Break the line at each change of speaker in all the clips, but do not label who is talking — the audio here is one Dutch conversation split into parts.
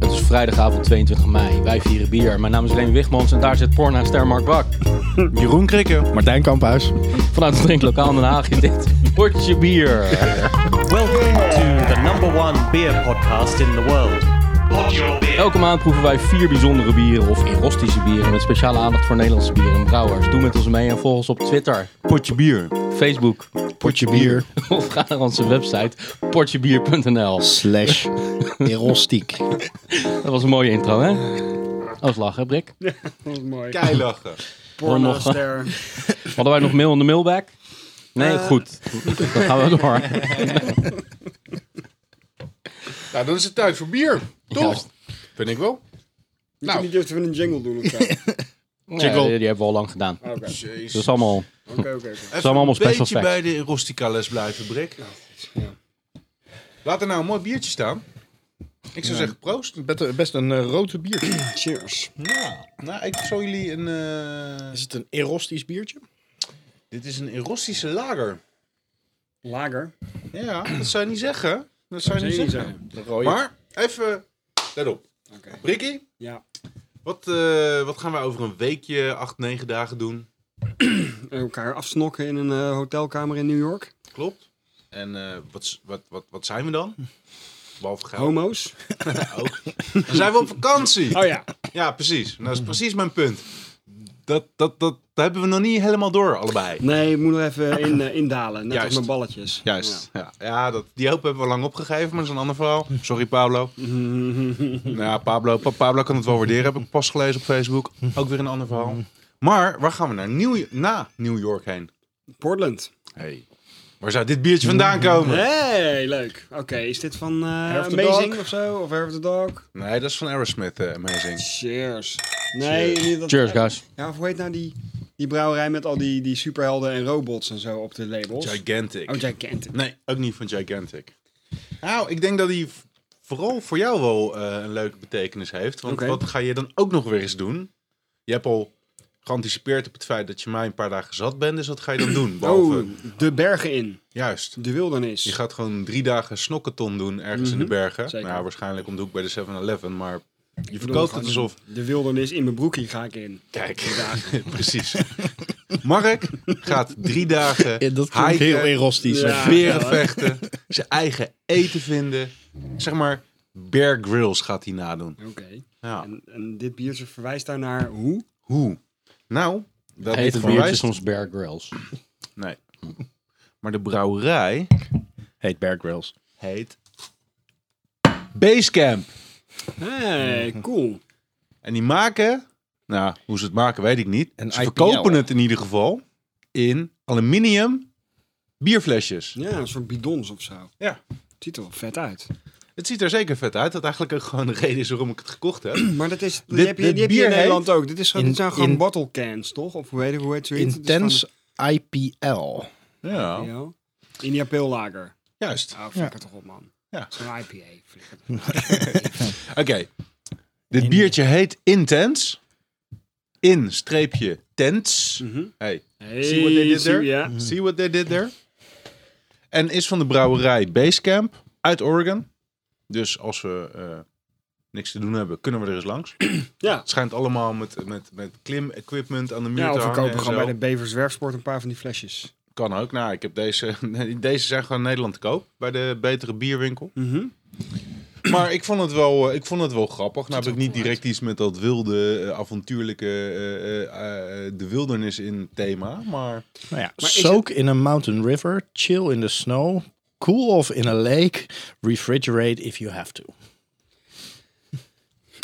vrijdagavond 22 mei. Wij vieren bier. Mijn naam is Leen Wichmans en daar zit porna ster Mark Bak.
Jeroen Krikke.
Martijn Kamphuis.
Vanuit het drinklokaal Den Haag in dit potje bier.
Welcome to the number one beer podcast in the world. Pod your beer.
Elke maand proeven wij vier bijzondere bieren of erotische bieren met speciale aandacht voor Nederlandse bieren en brouwers. Doe met ons mee en volg ons op Twitter,
Potje bier.
Facebook
Potje bier.
of ga naar onze website potjebier.nl.
Slash erostiek.
Dat was een mooie intro, hè? Als lachen, Brik.
Mooi.
Keilachen.
Pornoster.
Hadden wij nog mail in de mailbag? Nee, goed. Dan gaan we door.
Nou, dan is het tijd voor bier.
Juist.
Toch?
Vind ik wel.
Nou.
Nou. Niet durfden we een jingle doen. of zo. Oké,
Ja, die, die hebben we al lang gedaan.
oké,
Dat is allemaal...
oké, oké.
Even
allemaal
een
special
beetje
facts.
bij de rustica les blijven, Brik. Laat er nou een mooi biertje staan. Ik zou zeggen proost.
Best, best een eh, rode biertje.
Cheers.
Ja. Nou, ik zou jullie een... eh,
Is het een erostisch biertje?
Dit is een erotische lager.
Lager.
Ja, dat zou je niet zeggen. Dat zou
Dat
je niet
zou je
zeggen.
niet
Een rode.
Maar even, let op.
Oké.
Brikkie,
Ja,
wat, eh, wat gaan wij over een weekje, acht, negen dagen doen?
elkaar afsnokken in een eh, hotelkamer in New York.
Klopt. En eh, wat, s- wat, wat, wat zijn we dan? Behalve geld.
Homo's.
Ook. Dan zijn we op vakantie.
Oh ja.
Ja, precies. Nou, Dat is precies mijn punt. Dat, dat, dat, dat hebben we nog niet helemaal door, allebei.
Nee, ik moet nog even in, eh, indalen. Net
Juist.
als mijn balletjes.
Juist. Ja, Hm. ja. dat, die hoop hebben we lang opgegeven, maar dat is een ander verhaal. Sorry, Pablo. Nou ja, Pablo, Pa- Pablo kan het wel waarderen, heb ik pas gelezen op Facebook. Ook weer een ander verhaal. Maar waar gaan we naar Nieuw, na New York heen?
Ja. Portland.
Hey. Hm. Waar zou dit biertje vandaan komen?
Hey, leuk. Oké, is dit van eh,
Herf the
Amazing
Dog?
of zo? Of Herf the Dog?
Nee, dat is van Aerosmith, eh, Amazing.
Cheers. Nee, niet dat...
Cheers, guys.
Ja, of hoe heet nou die, die brouwerij met al die, die superhelden en robots en zo op de labels?
Gigantic.
oh, Gigantic.
Nee, ook niet van Gigantic. Nou, ik denk dat die v- vooral voor jou wel eh, een leuke betekenis heeft. Want
Oké.
wat ga je dan ook nog weer eens doen? Je hebt al geanticipeerd op het feit dat je mij een paar dagen zat bent. Dus wat ga je dan doen? Behalve,
Oh, de bergen in.
juist.
De wildernis.
Je gaat gewoon drie dagen snokkenton doen ergens in de bergen.
zeker.
Nou, waarschijnlijk om de hoek bij de 7-Eleven. Maar je verkoopt het alsof...
De wildernis in mijn broekie ga ik in.
Kijk, precies. Mark gaat drie dagen
dat klinkt
hiken.
heel erostisch.
eh, Ja.
beren
hoor.
vechten, zijn eigen eten vinden. Zeg maar, Bear Grylls gaat hij nadoen.
Oké.
Ja.
En, en dit biertje verwijst daar naar hoe?
Hoe? Nou, dat
Eet het biertje
verwijst-
soms Bear Grylls.
Nee. Maar de brouwerij
Heet Bear Grylls.
heet Basecamp.
Hey, cool.
En die maken, nou, hoe ze het maken weet ik niet.
Een
ze
IPL,
verkopen
hè?
het in ieder geval in aluminium bierflesjes.
Ja, een soort bidons of zo.
Ja.
Het ziet er wel vet uit.
Het ziet er zeker vet uit. Dat eigenlijk ook gewoon de reden is waarom ik het gekocht heb.
Maar dat is, die
Dit-
heb je,
dit
die heb je
bier
in
heet-
Nederland ook. Dit, is, gewoon- dit
In-
zijn gewoon
in-
bottle cans, toch? Of hoe heet, hoe heet zoiets? Het is
Intense IPL.
Ja,
gewoon- Ja. India Pale Lager.
juist.
Oh, flikker toch op, man.
Ja.
Zo'n IPA. flikker toch
Oké. Dit biertje heet Intens. In streepje tents. Hey,
op. Mhm. Hey,
see what they did
zie-
there? Mhm.
Ja.
See what they did there? En is van de brouwerij Basecamp uit Oregon. Dus als we eh, niks te doen hebben, kunnen we er eens langs.
ja.
Het schijnt allemaal met, met, met klim-equipment aan de muur
Ja,
te
of we
hangen.
kopen
en
gewoon
zo.
bij de Beverswerfsport een paar van die flesjes.
Kan ook. Nou, ik heb deze. Deze zijn gewoon in Nederland te koop. Bij de betere bierwinkel.
Mhm.
Maar ik vond het wel, eh, ik vond het wel grappig. Nou heb ik niet direct iets met dat wilde, eh, avontuurlijke, eh, eh, eh, de wildernis in thema. Maar
Nou ja,
Maar is
soak in a mountain river, chill in the snow, cool off in a lake, refrigerate if you have to.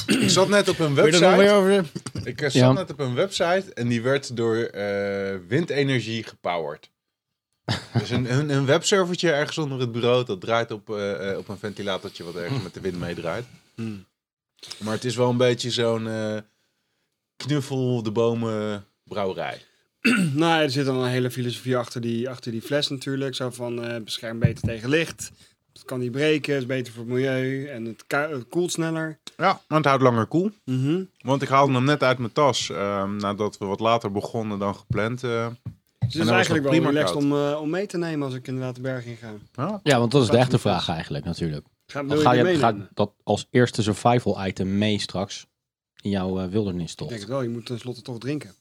ik zat net op een
Wil je er nog weer
website.
over?
Ik eh, zat
Ja.
net op een website en die werd door eh, windenergie gepowered. Dus een, een, een webservertje ergens onder het bureau, dat draait op, eh, eh, op een ventilatortje wat ergens met de wind meedraait. Hmm. Maar het is wel een beetje zo'n eh, knuffel de bomen brouwerij.
Nou, er zit dan een hele filosofie achter die, achter die fles natuurlijk. Zo van eh, bescherm beter tegen licht. Het kan niet breken, het is beter voor het milieu en het, ku- het koelt sneller. Dus
Ja, want het houdt langer koel.
Mhm.
Want ik haalde hem net uit mijn tas ehm, nadat we wat later begonnen dan gepland. eh.
Dus het
was
is eigenlijk
nog
wel
prima
relaxed
koud.
om, eh, om mee te nemen als ik inderdaad de berg in ga.
Ja.
Ja, want dat is de echte vraag eigenlijk natuurlijk.
Ga, wil
Dan
je
ga
die
je
meenemen?
ga dat als eerste survival item mee straks in jouw eh wildernis
Ik
toch?
denk het wel, je moet tenslotte toch drinken.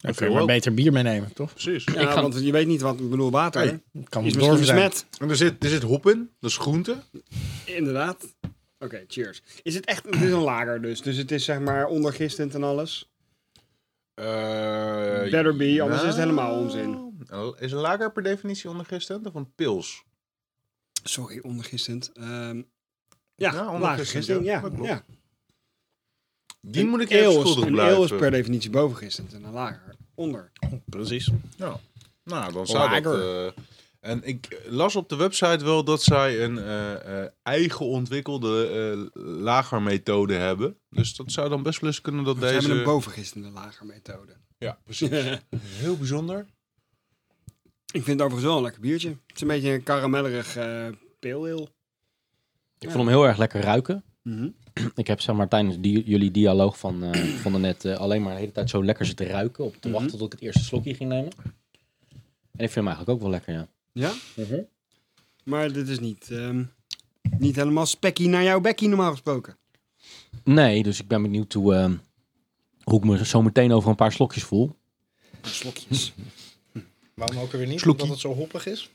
Dan kun
veel
je maar
ook.
beter bier meenemen, toch?
Precies.
Ja,
Ik ga-
want je weet niet wat, ik bedoel, water
Nee,
Kan
is
het
misschien
dorven zijn.
besmet.
En er zit, er zit hop in, dat is groente.
Inderdaad. Oké, cheers. Is het echt, het is een lager dus, dus het is zeg maar ondergistend en alles.
Eh, oh,
Better be, anders is het helemaal onzin.
Is een lager per definitie ondergistend of een pils?
Sorry, ondergistend. Ehm, ja,
Ja,
lager
ondergistend,
gistend,
ja.
ja.
Dat klopt.
ja.
Die
Een
moet ik even
ale is-
schuldig
Een ale is
blijven.
per definitie bovengistend en een lager onder.
Precies.
Ja. Nou, dan zou
Lager.
dat... eh, en ik las op de website wel dat zij een eh, eh, eigen ontwikkelde eh, lagermethode hebben. Dus dat zou dan best wel eens kunnen dat
Ze
deze...
hebben een bovengistende lager methode.
ja, precies. Heel bijzonder.
Ik vind het overigens wel een lekker biertje. Het is een beetje een karamellerig eh pale ale.
Ik vond hem heel erg lekker ruiken.
Mhm.
Ik heb zeg maar tijdens die, jullie dialoog van, eh van daarnet eh, alleen maar de hele tijd zo lekker zitten ruiken. Op
Mhm.
te wachten tot ik het eerste slokje ging nemen. En ik vind hem eigenlijk ook wel lekker, ja.
Ja? Maar dit is niet, ehm, niet helemaal spekkie naar jouw bekkie normaal gesproken.
Nee, dus ik ben benieuwd hoe, ehm, hoe ik me zo meteen over een paar slokjes voel.
Slokjes.
Hm. Waarom ook weer niet?
Sloekie.
Omdat het zo hoppig is.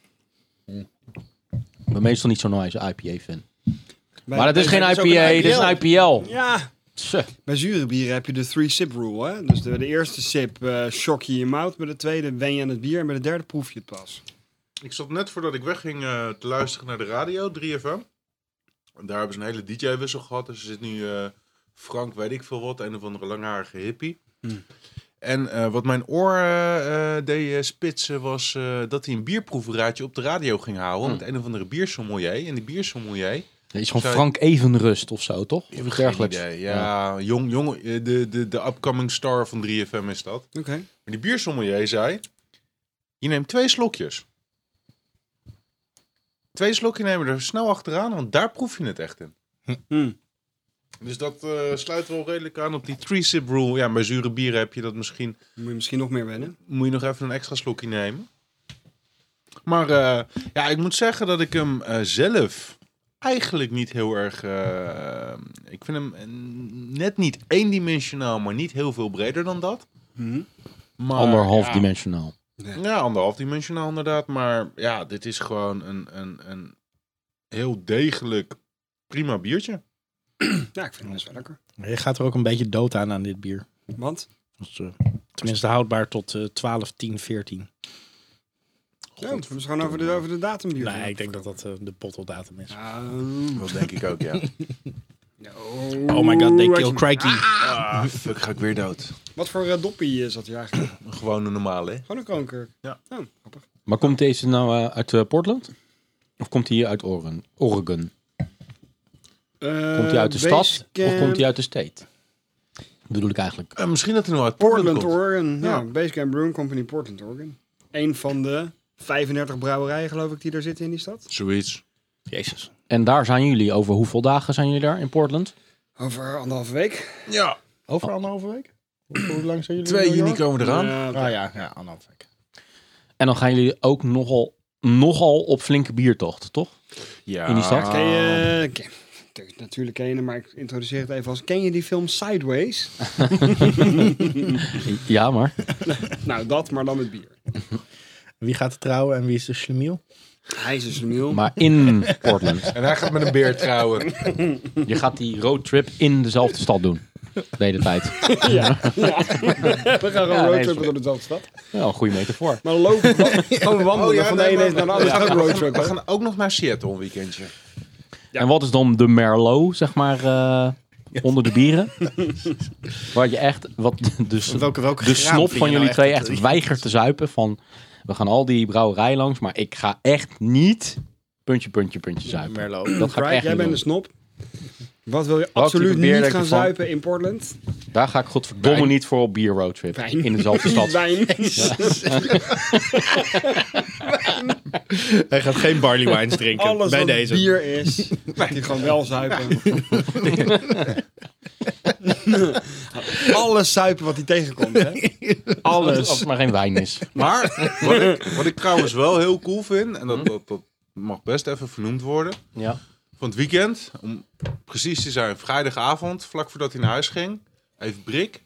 Ik ben meestal niet zo'n nice IPA-fan.
Bij-
Maar het is
bij-
geen
dat ook
IPA,
een
dit is een IPL.
Ja.
Tse.
Bij zure bieren heb je de three sip rule. Hè? Dus de, de eerste sip eh shock je je mouth. Bij de tweede wen je aan het bier. En bij de derde proef je het pas.
Ik zat net voordat ik wegging eh, te luisteren naar de radio, 3FM. En daar hebben ze een hele DJ-wissel gehad. Dus er zit nu eh, Frank, weet ik veel wat, een of andere langharige hippie. En eh, wat mijn oor eh, eh, deed eh, spitsen was eh, dat hij een bierproeveraadje op de radio ging houden. Met een of andere biersommelier. En die biersommelier...
Dit is gewoon
Zou-
Frank Evenrust of zo, toch? Of iets dergelijks.
Geen idee. Ja, Jong, jong, eh, de, de, de upcoming star van 3FM is dat.
Oké.
Maar die biersommelier zei: Je neemt twee slokjes. Twee slokjes nemen er snel achteraan, want daar proef je het echt in.
Hmm.
Dus dat eh, sluit wel redelijk aan op die three-sip rule. Ja, bij zure bieren heb je dat misschien.
Moet je misschien nog meer wennen.
Moet je nog even een extra slokje nemen. Maar eh, ja, ik moet zeggen dat ik hem eh, zelf eigenlijk niet heel erg. eh, ik vind hem eh, net niet eendimensionaal, maar niet heel veel breder dan dat.
Mhm.
Maar,
Anderhalf
Ah, ja.
dimensionaal.
Ja, anderhalf dimensionaal inderdaad. Maar ja, dit is gewoon een, een, een heel degelijk prima biertje.
Ja, ik vind het best wel lekker.
Je gaat er ook een beetje dood aan aan dit bier.
Want?
Dat is, eh, tenminste houdbaar tot eh 12, 10, 14.
Ja, het is gewoon over de, over de datum bier.
Nee, ik denk dat dat eh, de botteldatum is.
Ja,
Dat denk ik ook, ja.
Oh my god, they
wat
kill
je-
Crikey.
Ah, fuck, ga ik weer dood.
Wat voor eh, doppie eh, zat hier eigenlijk?
Een gewone normale, hè?
gewoon een kroonkurk.
Ja.
Oh, grappig.
Maar komt deze nou eh, uit eh, Portland? Of komt hij uit Oren- Oregon? Komt hij
Eh,
uit de stad of komt hij uit de state? Bedoel ik eigenlijk.
Eh, misschien dat hij nou uit Portland
Portland,
komt.
Oregon. Ja.
Ja.
Basecamp Brewing Company, Portland, Oregon. Een van de 35 brouwerijen, geloof ik, die daar zitten in die stad.
Zoiets.
Jezus. En daar zijn jullie. Over hoeveel dagen zijn jullie daar in Portland?
Over anderhalve week.
Ja,
Over anderhalve week? Hoe hoe lang zijn jullie
2
in New
juni
York?
komen eraan.
Ja, oké.
Ah ja, ja, anderhalve week.
En dan gaan jullie ook nogal, nogal op flinke biertocht, toch?
ja.
in die stad?
Ken je, ken- tu- eh, natuurlijk ken je hem, maar ik introduceer het even als... Ken je die film Sideways?
Ja, maar.
nou, dat, maar dan met bier.
Wie gaat er trouwen en wie is de schlemiel?
Hij is een slemiel.
Maar in Portland.
En hij gaat met een beer trouwen.
Je gaat die roadtrip in dezelfde stad doen. De hele tijd.
Ja. ja. We gaan
nee,
gewoon roadtrippen
is-
door dezelfde stad.
Ja, een goede metafoor.
Maar lopen, wa- gewoon wandelen
Oh ja,
van de
nee,
ene
maar-
naar de andere.
Ja.
is ook roadtrip.
We gaan ook nog naar Seattle een weekendje.
En wat is dan de Merlot, zeg maar, eh, onder de bieren? Waar je echt, wat dus
Welke, welke
de snop van jullie twee echt weigert te zuipen. Van we gaan al die brouwerij langs, maar ik ga echt niet puntje, puntje, puntje zuipen.
Merlot.
Dat ga ik
Right,
echt niet
jij bent
doen.
een snop. Wat wil je
Welk
absoluut
type bier
niet
denk je
gaan
van?
zuipen in Portland?
Daar ga ik godverdomme
Wijn.
niet voor op bier roadtrip.
Wijn.
In dezelfde stad.
Wijn.
Hij gaat geen barley wines drinken
Alles
bij
wat
deze.
bier is, gaat hij gewoon wel zuipen. Alles zuipen wat hij tegenkomt, hè?
Alles. Als het maar geen wijn is.
Maar
Hm?
wat ik, wat ik trouwens wel heel cool vind, en dat, dat, dat mag best even vernoemd worden.
Ja.
van het weekend, om precies te zijn, vrijdagavond, vlak voordat hij naar huis ging, heeft Brik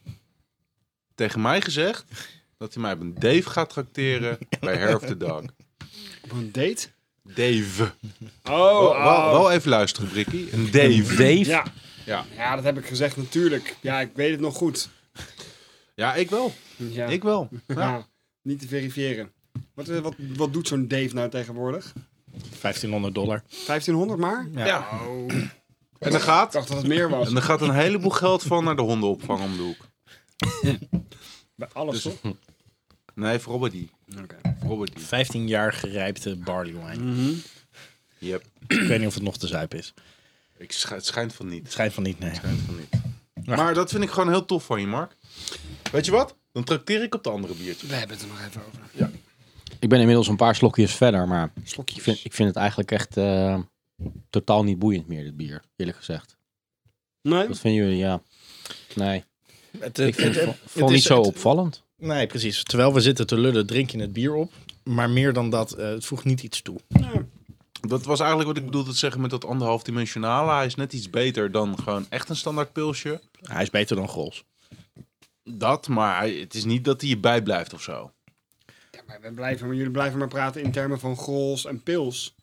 tegen mij gezegd dat hij mij op een Dave gaat tracteren bij Hair of the Dog.
Op een date?
Dave.
Oh,
Wel, wel- wel even luisteren, Brikkie. Een Dave.
Dave.
Ja.
Ja.
ja, dat heb ik gezegd natuurlijk. Ja, ik weet het nog goed.
Ja, ik wel.
Ja.
Ik wel. Ja.
Ja, niet te verifiëren. Wat, eh, wat, wat doet zo'n Dave nou tegenwoordig?
1500 dollar.
1500 maar?
Ja.
Oh,
En dan
ik
gaat...
dacht dat het meer was.
En er gaat een heleboel geld van naar de hondenopvang om de hoek.
Bij
Dus-
alles toch?
Nee, voor Robert die. Voor Robert die.
15 jaar gerijpte barley wine.
Yep.
Mm. Ik weet niet of het nog te zuip is.
Ik scha- het schijnt van niet.
Het schijnt van niet, nee.
Maar dat vind ik gewoon heel tof van je, Mark. Weet je wat? Dan trakteer ik op de andere biertje.
We hebben het er nog even over.
Ik ben inmiddels een paar slokjes verder, maar ik
Slokje.
vind, ik vind het eigenlijk echt eh, totaal niet boeiend meer, dit bier. Eerlijk gezegd.
Nee?
Dus-
Wat vinden jullie? Ja. Nee.
Het,
Ik vind het
het
vond
is-
niet zo
het-
opvallend.
Nee, precies. Terwijl we zitten te lullen, drink je het bier op. Maar meer dan dat, eh, het voegt niet iets toe.
Dat was eigenlijk wat ik bedoelde te zeggen met dat anderhalf dimensionale. Hij is net iets beter dan gewoon echt een standaard pilsje.
Hij is beter dan Grols.
Dat, maar hij- het is niet dat hij je bijblijft of zo.
Ja, maar we blijven, maar jullie blijven maar praten in termen van grols en pils.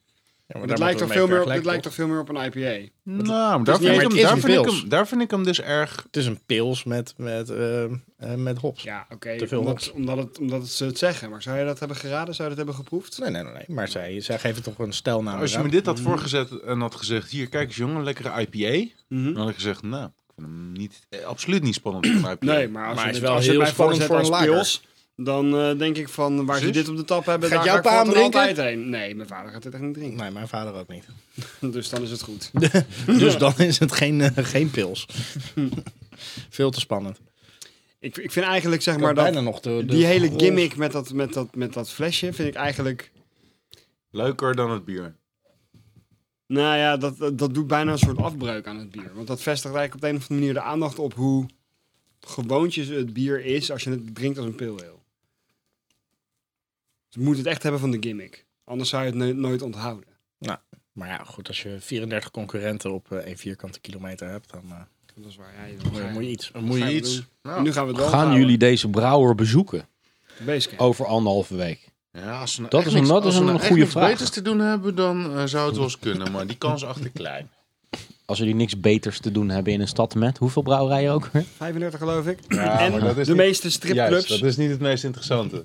Ja,
Dat lijkt, toch veel meer op, dat lijkt toch veel meer op een IPA?
Nou, maar daar
niet-
vind,
maar
ik
Mm. het
hem,
is
daar,
een
vind ik
pils.
hem, daar vind ik hem dus erg...
Het is een pils met, met, eh, eh, met hops.
Ja, oké.
Te veel
Omdat,
hops.
omdat, het- omdat ze het zeggen. Maar zou je dat hebben geraden? Zou je dat hebben geproefd?
Nee, nee, nee, nee. Maar zij, zij geven toch een stijlnaam.
Als je
eraan.
me dit had voorgezet en had gezegd... Hier, kijk eens jongen, lekkere IPA.
Mhm.
Dan had ik gezegd, nou, ik vind hem niet, eh, absoluut niet spannend voor een IPA.
Nee, maar als
Maar het
je,
is
dit-
wel
als je
heel
mij
spannend
voorzet
voor
als
een lager.
pils, dan eh, denk ik van waar ze
Zus?
dit op de tap hebben,
Gaat
daar
jouw
ga ik
pa hem
voortaan
drinken?
altijd heen. Nee, mijn vader gaat dit echt niet drinken.
Nee, mijn vader ook niet.
Dus dan is het goed.
dus dan is het geen, eh, geen pils. veel te spannend.
Ik, ik vind eigenlijk zeg
Maar
maar
bijna
dat
nog de, de
die hele
Grols-
gimmick met dat, met, dat, met dat flesje vind ik eigenlijk...
Leuker dan het bier.
Nou ja, dat, dat, dat doet bijna een soort afbreuk aan het bier. Want dat vestigt eigenlijk op de een of andere manier de aandacht op hoe gewoontjes het bier is als je het drinkt als een pil Ze moet het echt hebben van de gimmick. Anders zou je het no- nooit onthouden.
Maar ja, goed, als je 34 concurrenten op eh één vierkante kilometer hebt, dan eh,
Dat is waar. Ja, je- dan ga je-
moet je iets.
Moet
gaan
je
we
iets...
doen. En
Nou,
nu gaan we het wel
Gaan jullie deze brouwer bezoeken
Basecamp.
Oh.
over anderhalve week?
Ja, als ze nou
Dat
echt
is een-
niks-
dat
als
is
ze
een
nou echt
goede
niks
vraag.
beters te doen hebben, dan eh, zou het wel eens kunnen. Maar die kans achter klein.
Als jullie niks beters te doen hebben in een stad met hoeveel brouwerijen ook? weer?
35 geloof ik.
Ja,
en
maar dat is
de
niet-
meeste stripclubs.
dat is niet het meest interessante.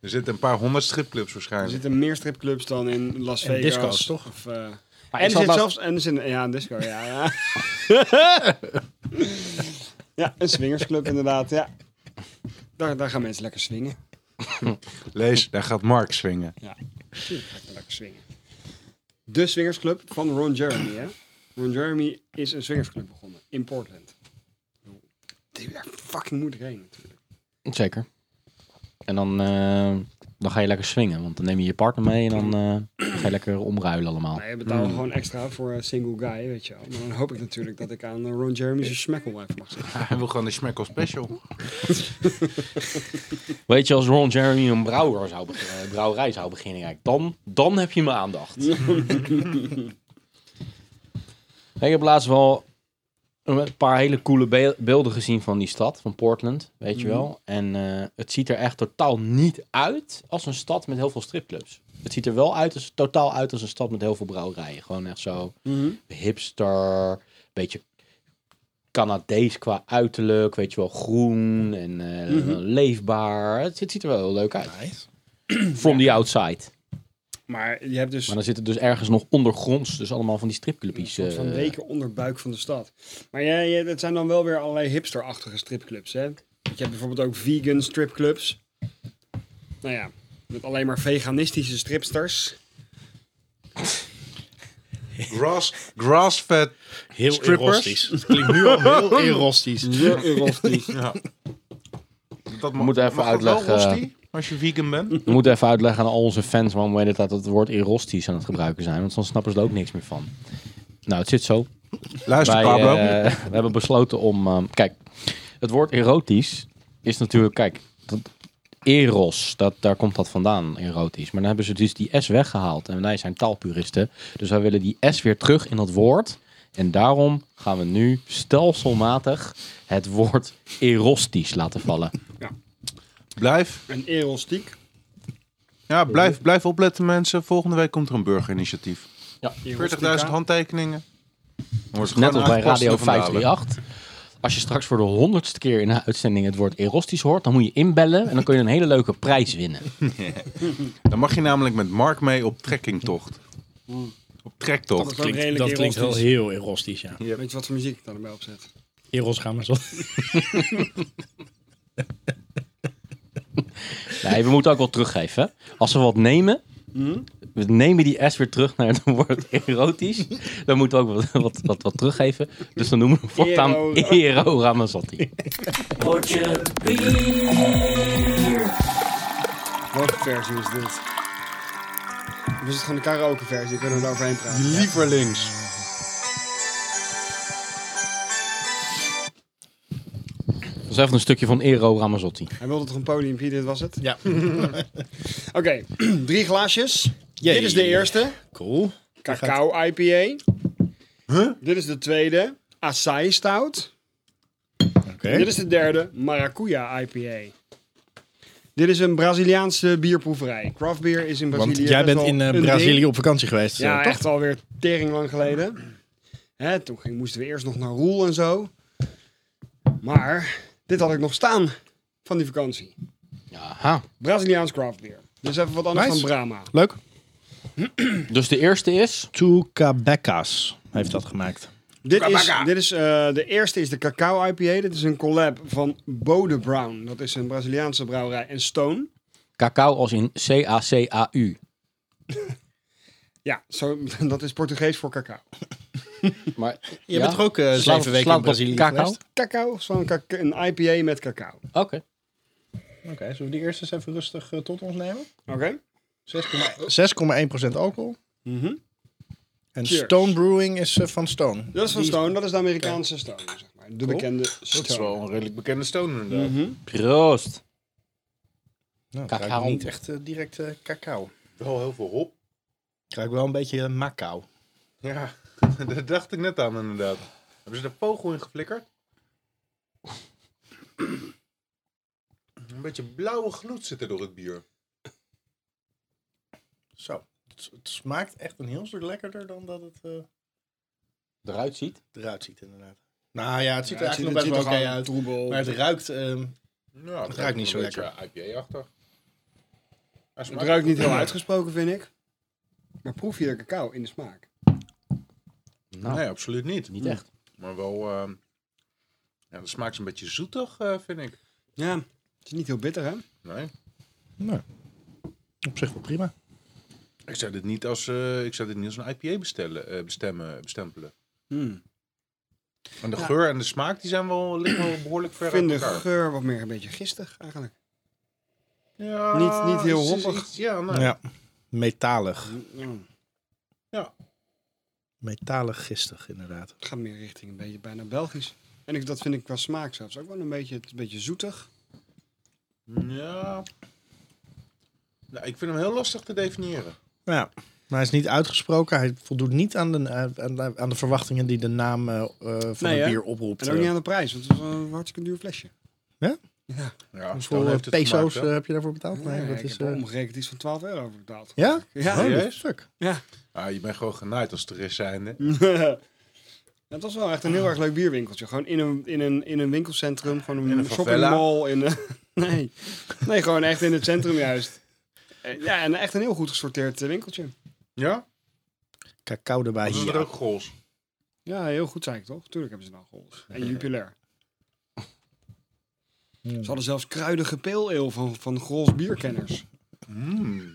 Er zitten een paar honderd stripclubs
er
waarschijnlijk.
zitten meer stripclubs dan in Las
En
Vegas.
disco's, toch?
Of, eh,
Maar
en
ik
er
zat
zit
laatst-
zelfs... En er zit, ja, een disco, ja. Ja, ja een swingersclub inderdaad, ja. Daar, daar gaan mensen lekker swingen.
Lees, daar gaat Mark swingen.
Lekker swingen. De swingersclub van Ron Jeremy, hè. Ron Jeremy is een swingersclub begonnen in Portland. Daar fucking moet ik heen natuurlijk.
Zeker. En dan, eh, dan ga je lekker swingen, want dan neem je je partner mee en dan eh, ga je lekker omruilen allemaal.
Wij betalen gewoon extra voor een single guy, weet je wel. Maar dan hoop ik natuurlijk dat ik aan eh, Ron Jeremy's smekkel even mag zeggen.
Hij wil gewoon de Smackel Special.
Weet je, als Ron Jeremy een brouwer zou beginnen, brouwerij zou beginnen, kijk, dan, dan heb je mijn aandacht. ik heb laatst wel een paar hele coole be- beelden gezien van die stad, van Portland, weet
Mhm.
je wel. En eh, het ziet er echt totaal niet uit als een stad met heel veel stripclubs. Het ziet er wel uit als, totaal uit als een stad met heel veel brouwerijen. Gewoon echt zo
Mhm.
hipster, beetje Canadees qua uiterlijk, weet je wel, groen en eh,
Mhm.
leefbaar. Het, het ziet er wel heel leuk uit.
Nice.
From the outside.
Maar je hebt dus
Maar dan zit het dus ergens nog ondergronds, dus allemaal van die stripclubjes.
Een soort van
eh,
weken onderbuik van de stad. Maar ja, ja, dat zijn dan wel weer allerlei hipsterachtige stripclubs, hè? Want Je hebt bijvoorbeeld ook vegan stripclubs. Nou ja, met alleen maar veganistische stripsters.
Grass, grass-fat.
Heel
Strippers?
erostisch. Het klinkt nu al heel erostisch.
Ja. Dat
We moeten even
mag dat wel,
uitleggen. eh,
Rosti, als je vegan bent.
We moeten even uitleggen aan al onze fans waarom wij dit dat het woord erostisch aan het gebruiken zijn, want dan snappen ze er ook niks meer van. Nou, het zit zo.
Luister,
Wij,
Pablo.
eh, we hebben besloten om. ehm, kijk, het woord erotisch is natuurlijk. Kijk, dat, Eros, dat, daar komt dat vandaan, erotisch. Maar dan hebben ze dus die S weggehaald. En wij zijn taalpuristen. Dus wij willen die S weer terug in dat woord. En daarom gaan we nu stelselmatig het woord erostisch laten vallen.
Blijf,
Een erostiek.
ja, blijf, blijf opletten mensen. Volgende week komt er een burgerinitiatief.
Ja.
40.000 handtekeningen. Wordt
Net
gewoon
als bij
aangepast
Radio
door Van Dalen.
538. Als je straks voor de honderdste keer in de uitzending het woord erostisch hoort, dan moet je inbellen en dan kun je een hele leuke prijs winnen.
Dan mag je namelijk met Mark mee op trekkingtocht. Op
Dat
trektocht.
is ook redelijk
dat klinkt wel
erostisch.
heel erostisch, ja.
Weet je wat voor muziek ik daar erbij opzet?
Eros gaan we zo.
Nee, we moeten ook wel teruggeven. hè. Als we wat nemen, we nemen die S weer terug naar het woord erotisch, dan moeten we ook wat, wat, wat, wat teruggeven. Dus dan noemen we hem voortaan
Ero-
Ero Ramazzotti.
Welke versie is dit? Of is het gewoon de karaoke versie? Kunnen we daar overheen praten?
Lieverlings.
Dat is even een stukje van Ero Ramazzotti.
Hij wilde toch een podiumpje, dit was het?
Ja.
Oké, drie glaasjes. Dit is de eerste.
Cool.
Cacao IPA. Dit is de tweede. Acai Stout.
Oké.
Dit is de derde. Maracuja IPA. Dit is een Braziliaanse bierproeverij. Craft beer is in Brazilië.
Want jij
best
bent
wel
in eh,
een ding.
Brazilië op vakantie geweest, eh,
Ja,
toch?
echt alweer tering lang geleden. Hè, toen ging, moesten we eerst nog naar Roel en zo. Maar dit had ik nog staan van die vakantie.
Aha.
Braziliaans craft beer. Dus even wat anders
Nice.
dan Brahma.
Leuk.
Dus de eerste is...
Tucabecas heeft dat gemaakt.
Dit is, dit is, eh, de eerste is de Cacao IPA. Dit is een collab van Bode Brown. Dat is een Braziliaanse brouwerij. En Stone.
Cacao als in C-A-C-A-U.
Ja, zo, dat is Portugees voor cacao.
Maar
Je bent toch ook eh,
Slaat-
zeven weken
slaat
in
op
Brazilië
kakao?
geweest?
Cacao, is van kak- een IPA met cacao.
Oké.
Oké, zullen we die eerst eens even rustig eh, tot ons nemen?
Oké?
6,1% alcohol.
Mhm.
En
Cheers.
Stone Brewing is eh, van Stone.
Dat is van Stone. Dat is de Amerikaanse Stone, zeg maar. De bekende Stone.
Dat is wel een redelijk bekende stone inderdaad.
Mhm.
Proost.
Nou,
Cacao.
ruikt niet echt eh, direct eh, cacao.
Wel heel veel hop.
Ik ruik wel een beetje eh, macao.
Ja, daar dacht ik net aan inderdaad. Hebben ze de vogel in geflikkerd? Een beetje blauwe gloed zit er door het bier.
Zo. Het, het smaakt echt een heel stuk lekkerder dan dat het eh,
Eruit ziet.
eruit ziet, inderdaad. Nou ja, het ziet er
Ja,
eigenlijk nog best wel oké uit.
Troebel.
Maar het ruikt... ehm,
Ja,
Het ruikt niet zo
een beetje IPA-achtig. Hij
Het
smaakt-
ruikt niet heel uitgesproken, vind ik. Maar proef je de cacao in de smaak?
Nou,
Nee, absoluut niet.
Hm.
niet echt.
Maar wel... ehm ja, de smaak is een beetje zoetig, eh, vind ik.
Ja. Het is niet heel bitter, hè?
Nee.
nou, op zich wel prima.
Ik zou dit niet als, eh, ik zou dit niet als een IPA bestellen, eh, bestemmen, bestempelen.
Hmm.
En de geur en de smaak die zijn wel, liggen wel behoorlijk ver
Ik vind de
uit elkaar.
geur wat meer een beetje gistig, eigenlijk.
Ja,
niet- niet heel
het is
hoppig.
iets- Ja, nou,
Ja, metalig.
Ja.
Metalig gistig, inderdaad.
Het gaat meer richting een beetje bijna Belgisch. En ik, dat vind ik qua smaak zelfs ook wel een beetje, het is een beetje zoetig.
Ja. Nou, ik vind hem heel lastig te definiëren.
Ja, maar hij is niet uitgesproken. Hij voldoet niet aan de, eh, aan de, aan de verwachtingen die de naam eh, eh, van
Nee,
het
hè?
bier oproept. eh.
En ook niet aan de prijs, want het is wel een hartstikke duur flesje.
Ja,
Dus voor eh, peso's eh, heb je daarvoor betaald? Nee,
Nee,
dat
ik
is...
heb
eh,
omgerekend iets van 12 euro voor betaald.
ja?
Ja.
Oh,
Serieus?
fuck.
ah, je bent gewoon genaaid als toerist zijnde.
Het was wel echt een heel erg leuk bierwinkeltje. Gewoon in een, in een, in een winkelcentrum, gewoon
In
een,
een favela?
shoppingmall. In een, nee. nee, gewoon echt in het centrum juist. Eh, Ja, en echt een heel goed gesorteerd eh, winkeltje.
Ja?
Cacao erbij
Dat is er
hier.
ook goals.
Ja, heel goed zei ik toch? Tuurlijk hebben ze nou geholpen. En jupiler. Ze hadden zelfs kruidige pale ale van, van Grols bierkenners.
Die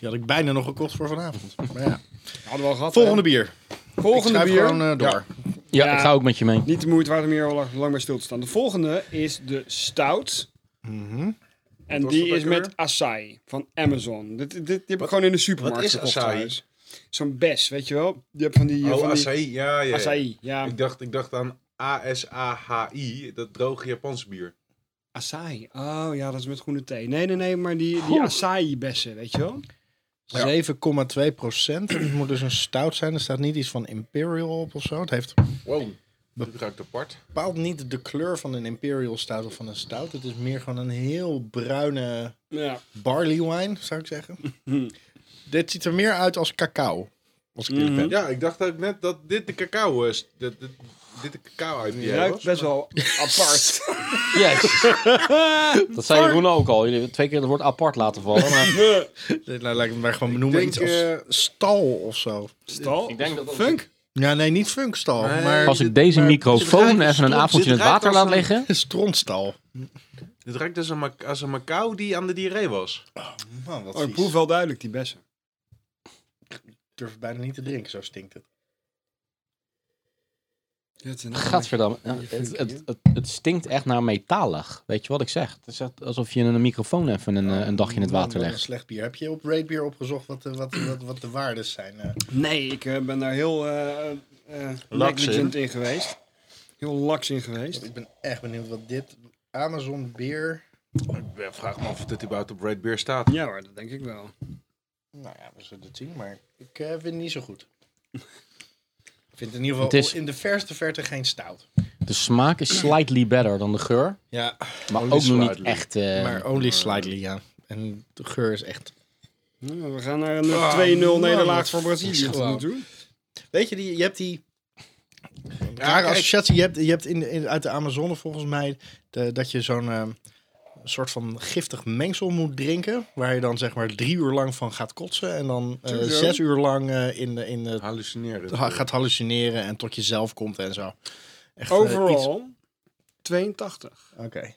had ik bijna nog gekocht voor vanavond. Maar ja.
Hadden we al gehad.
Volgende
hè?
bier. Ik
Volgende
schuif
bier.
gewoon eh, door.
Ja,
Ja.
ik ga ook met je mee.
Niet de moeite waard om hier al lang- lang bij stil te staan. De volgende is de Stout. En
Mhm. was
die
dat
is
ook
met
alweer?
acai van Amazon. Dit, dit, die heb ik gewoon in de supermarkt
wat is
gekocht
acai?
trouwens. Zo'n bes, weet je wel? Je hebt van die...
Oh,
van die-
acai. Ja, ja, ja.
Acai, ja.
Ik dacht, ik dacht aan A-S-A-H-I, dat droge Japanse bier.
Asahi. Oh ja, dat is met groene thee. Nee, nee, nee, maar die, die Asahi-bessen, weet je wel?
7,2 procent. Het moet dus een stout zijn. Er staat niet iets van Imperial op of zo. Het heeft
Wow, dit ruikt apart.
bepaald niet de kleur van een Imperial stout of van een stout. Het is meer gewoon een heel bruine
Ja.
barley wine, zou ik zeggen. Dit ziet er meer uit als cacao. Als ik eerlijk ben.
Ja, ik dacht ook net dat dit de cacao is. Dat, dat- dit de cacao uit die
ruikt best wel apart.
Yes. dat zei Jeroen ook al. Jullie hebben twee keer het woord apart laten vallen. Maar
Dit nou, lijkt me maar gewoon noemen
denk,
iets als
eh,
stal of zo.
Stal?
ik denk dat dat-
Funk?
Ja, nee, niet funkstal,
Nee.
maar
als ik deze
maar-
microfoon even een
Dit
avondje in het
ruikt
water
als
laat
een-
liggen.
strontstal.
Dit ruikt als een, mac- als een macau die aan de diarree was.
Man, wat
Oh, ik
vies.
proef wel duidelijk die bessen.
Ik durf het bijna niet te drinken, zo stinkt het.
Dat is
Gadverdamme. Ja, het, het, het, het stinkt echt naar metalig. Weet je wat ik zeg? Het is echt alsof je een microfoon even een, eh, een dagje in het
Man,
water
wat Een
legt.
slecht bier. Heb je op Raidbeer opgezocht wat de, wat, wat, wat de waardes zijn? eh?
Nee, ik eh, ben daar heel eh, eh, negligent in geweest. Heel laks in geweest.
ik ben echt benieuwd wat dit Amazon bier.
Ik eh, vraag me af of dit überhaupt op Red Beer staat.
Ja hoor, dat denk ik wel.
Nou ja, we zullen het zien, maar ik eh, vind het niet zo goed. Ik vind het in ieder
Het
geval
is-
in de verste verte geen stout.
De smaak is slightly better dan de geur.
Ja,
Maar
Only
ook nog niet
slightly.
echt... eh,
maar only slightly, ja. En de geur is echt.
Nou, we gaan naar een
Ah,
2-0
man, wat
nederlaag voor
vies
Brazilië.
gewoon.
tot nu toe.
Weet je, die, je hebt die. Rare
kijk.
associatie. Je hebt, je hebt in, in, uit de Amazone volgens mij de- dat je zo'n eh, soort van giftig mengsel moet drinken. Waar je dan zeg maar drie uur lang van gaat kotsen. En dan eh,
Sowieso.
zes uur lang eh, in, de, in de,
Hallucineren.
ha- Ah, gaat hallucineren en tot jezelf komt en zo. Echt, eh, iets-
Overall 82.
Oké.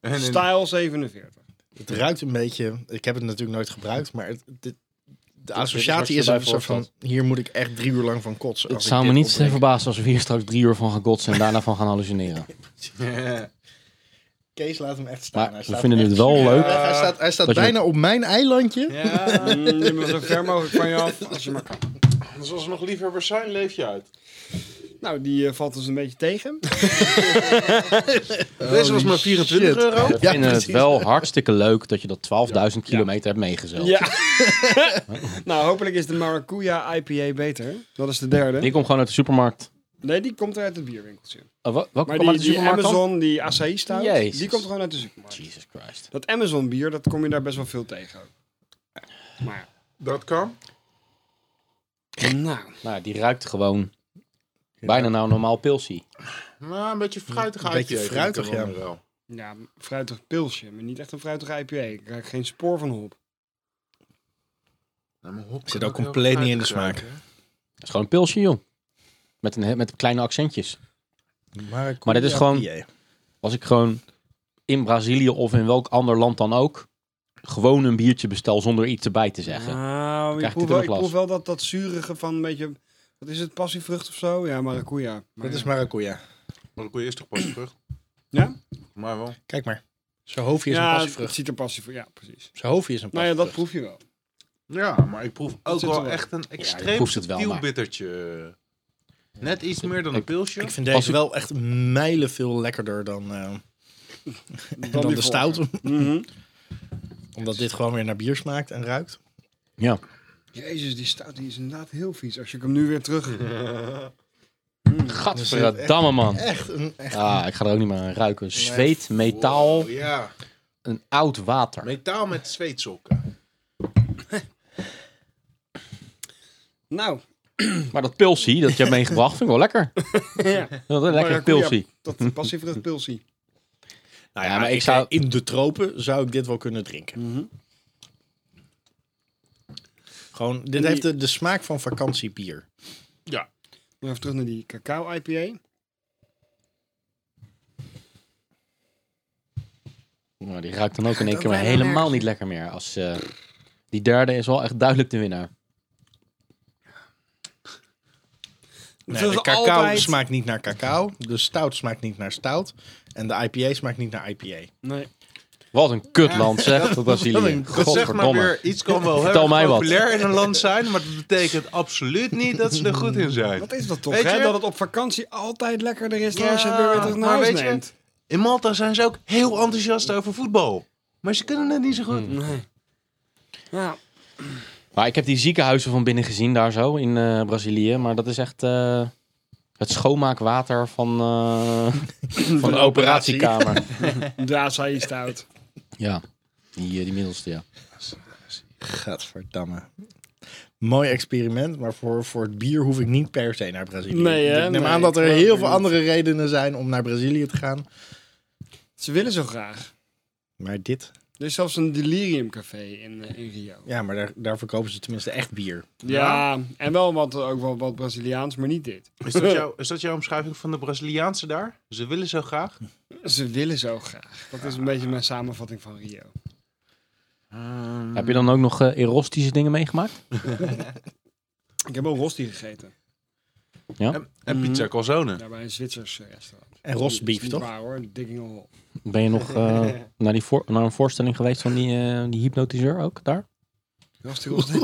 En in-
Style 47.
Het ruikt een beetje. Ik heb het natuurlijk nooit gebruikt, maar het, dit- de
wat je
associatie is
erbij
een soort van. Hier moet ik echt drie uur lang van kotsen.
Het
als ik
zou me
dit
niet
opdrink.
verbazen als we hier straks drie uur van gaan kotsen en daarna van gaan hallucineren.
Kees laat hem echt staan.
Maar
Hij
we
staat
vinden
echt
het wel
super-
leuk.
Ja, Hij staat, hij staat
Dat je-
bijna op mijn eilandje.
Ja, mm, je moet zo ver mogelijk van je af als je maar kan.
Dus als er nog liefhebbers zijn, leef je uit.
Nou, die eh, valt ons een beetje tegen.
Deze was maar 24
shit.
euro.
We vinden het
precies.
wel hartstikke leuk dat je dat 12.000 kilometer hebt meegezeld.
Ja. nou, hopelijk is de Maracuja IPA beter. Dat is de derde.
Die komt gewoon uit de supermarkt.
Nee, die komt er uit het bierwinkeltje.
Eh, wa- welke
Maar
kwam
die,
uit de
die
supermarkt dan?
Amazon, die acai stout,
Jezus.
die komt gewoon uit de supermarkt.
Jesus Christ.
Dat Amazon bier, dat kom je daar best wel veel tegen. ook. Maar
Dat kan.
ja. nou,
Nou, die ruikt gewoon bijna nou normaal pilsie.
Nou, een beetje fruitig
Een beetje
uitje.
fruitig, ja.
wel.
ja, een fruitig pilsje, maar niet echt een fruitig IPA. Ik krijg geen spoor van hop.
Nou, maar hop
Zit
kan
ook compleet
heel
niet in de
fruitig
smaak.
ruiken,
Dat is gewoon een pilsje, joh. Met, een, met kleine accentjes. Maar dit is gewoon- Als ik gewoon in Brazilië of in welk ander land dan ook... gewoon een biertje bestel zonder iets erbij te zeggen.
Nou, ik
Krijg ik
proef,
dit
wel,
in
ik
mijn
proef
glas.
wel dat, dat zurige van een beetje... Wat is het, passievrucht of zo? Ja, maracuja. Maar
Dat is
ja.
maracuja.
hè? Maar dan kon je eerst toch pas terug.
Ja?
Maar wel.
Kijk maar. Zijn hoofdje is
ja,
een
het
passievrucht.
ziet er passievrucht. Ja, precies.
Zijn hoofdje is een
Nou ja,
passievrucht.
dat proef je wel.
Ja, maar ik proef ook
zit er
wel
wel.
echt een extreem
proeft het wel,
subtiel
maar-
bittertje. Net iets meer dan
Ik-
een pilsje.
Ik vind
Als
deze
ik-
wel echt mijlen veel lekkerder dan, eh,
Dan,
dan
die
de
vorige.
stout.
Mhm.
Omdat dit gewoon weer naar bier smaakt en ruikt.
Ja.
Jezus, die stout die is inderdaad heel vies. Als je hem nu weer terug...
Gadverdamme, man.
Echt een... Echt
Ah, ik ga er ook niet meer aan ruiken. Zweet, metaal,
Wow, Oh, ja,
een oud water.
metaal met zweetsokken.
Nou,
Maar dat pilsie dat je hebt meegebracht, vind ik wel lekker.
ja.
Dat is lekker
Maracuja,
pilsie.
Dat passievrucht pilsie.
nou
ja, maar ik zou-
In de tropen zou ik dit wel kunnen drinken.
Mhm.
Gewoon, dit heeft de, de smaak van vakantiebier.
Maar Even terug naar die cacao IPA.
Nou, die ruikt dan ook in één
ook
keer maar
bijna
helemaal
nergens.
niet lekker meer. Als, eh, die derde is wel echt duidelijk de winnaar.
Nee,
Zoals
de cacao
altijd.
smaakt niet naar cacao. De stout smaakt niet naar stout. En de IPA smaakt niet naar IPA.
Nee.
Wat een kutland, zeg, dat Brazilië.
Dat zegt maar
Godverdomme.
weer, iets kan wel heel
Vertel mij
erg
wat.
populair in een land zijn, maar dat betekent absoluut niet dat ze er goed in zijn.
Wat is dat toch,
Weet
hè?
je?
Dat het op vakantie altijd lekkerder is dan
Ja,
als je het weer weer terug naar
maar
huis
weet je,
neemt.
In Malta zijn ze ook heel enthousiast over voetbal. Maar ze kunnen het niet zo goed.
Nee. Ja,
Maar ik heb die ziekenhuizen van binnen gezien daar zo in eh, Brazilië. Maar dat is echt eh, het schoonmaakwater van, eh, van de operatiekamer.
daar zei je stout.
ja, die, eh, die middelste, ja.
Gadverdamme. Mooi experiment, maar voor, voor het bier hoef ik niet per se naar Brazilië.
Nee, hè?
ik neem
Nee,
aan dat er
ik ook
heel
weer
veel
niet.
andere redenen zijn om naar Brazilië te gaan.
Ze willen zo graag.
Maar dit,
Er is zelfs een deliriumcafé in, eh, in Rio.
ja, maar daar, daar verkopen ze tenminste echt bier.
Ja, en wel wat, ook wel wat Braziliaans, maar niet dit.
Is dat, jouw, is dat jouw omschrijving van de Braziliaanse daar? Ze willen zo graag.
Ze willen zo graag. Dat is een beetje mijn samenvatting van Rio.
Heb je dan ook nog eh, erotische dingen meegemaakt?
Ik heb ook rosti gegeten.
En pizza
Mhm.
calzone.
Daar bij een Zwitsers eh, restaurant.
En rostbief,
Is niet
toch?
Waar, hoor. Digging hole.
Ben je nog eh, naar, die voor- naar een voorstelling geweest van die, eh, die hypnotiseur ook daar?
Rosti, rosti.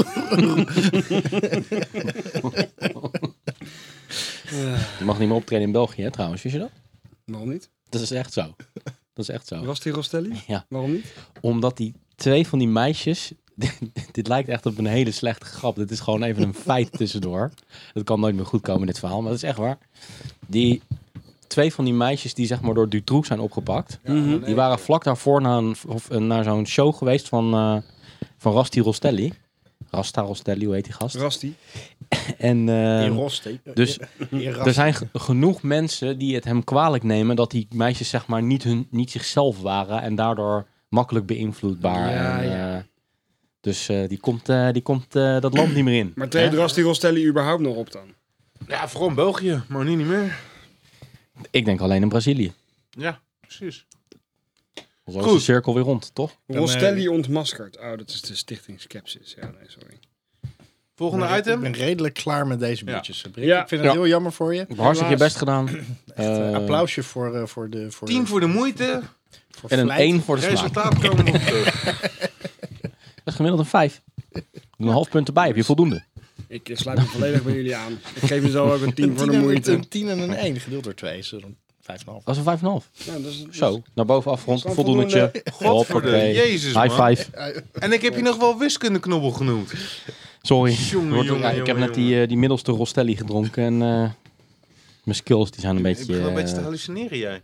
Eh,
Je mag niet meer optreden in België, hè, trouwens. Wist je dat?
waarom niet?
Dat is echt zo. Dat is echt zo.
Rosti Rostelli?
Ja.
Waarom niet?
Omdat die twee van die meisjes. dit lijkt echt op een hele slechte grap. Dit is gewoon even een feit tussendoor. Het kan nooit meer goed komen, dit verhaal. Maar dat is echt waar. Die twee van die meisjes die zeg maar door Dutroux zijn opgepakt.
Mhm.
Die waren vlak daarvoor naar, een, of, eh, naar zo'n show geweest van, eh, van Rasti Rostelli. Rasta Rostelli, hoe heet die gast?
Rasti.
En, eh,
In rost, hè?
dus
In ras-
er zijn ge- genoeg mensen die het hem kwalijk nemen dat die meisjes zeg maar niet, hun, niet zichzelf waren en daardoor makkelijk beïnvloedbaar.
Ja,
en,
ja.
eh, dus eh, die komt, eh, die komt eh, dat land niet meer in.
Maar treedt
Hè?
Rosti Rostelli überhaupt nog op dan?
Ja, vooral in België, maar nu niet meer.
Ik denk alleen in Brazilië.
Ja, precies.
Zo is
Goed.
de cirkel weer rond, toch?
Dan,
Rostelli ontmaskerd. Oh, dat is de stichting Skepsis. Ja, nee, sorry.
Volgende
Ik ben-
item.
Ik ben redelijk klaar met deze biertjes. Brik.
Ja.
Ik vind het
Ja.
heel jammer voor je.
Hartstikke je
Helaas.
best gedaan. Eh,
Applausje voor, eh, voor de... Voor,
Tien voor de moeite.
voor
en een
Vlijt.
1 voor de slaag.
Resultaat komen we op terug.
Dat is gemiddeld een 5. Een half punt erbij, heb je voldoende.
Ik eh, sluit me volledig bij jullie aan. Ik geef mezelf ook een
Een
10 voor de
tien en-
moeite.
Een 10 en een 1 gedeeld door 2 is dan 5,5.
Dat is een 5,5.
Ja, dat is- dat is-
Zo, naar boven afgerond,
Gewoon
voldoendetje.
Godverdomme,
Hoppakee.
Jezus man.
High five.
En ik heb je nog wel wiskundeknobbel genoemd.
Sorry.
Jongen,
Wordt-
jongen,
ja, ik heb
jongen,
net die, eh, die middelste Rostelli gedronken en eh, mijn skills die zijn een
Ik
beetje...
begin wel een beetje te
eh,
hallucineren jij.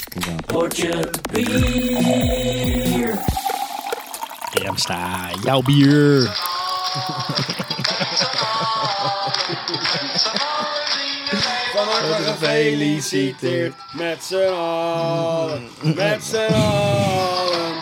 inderdaad.
Remsta, jouw bier.
Van harte gefeliciteerd Mm. met z'n allen, met z'n allen.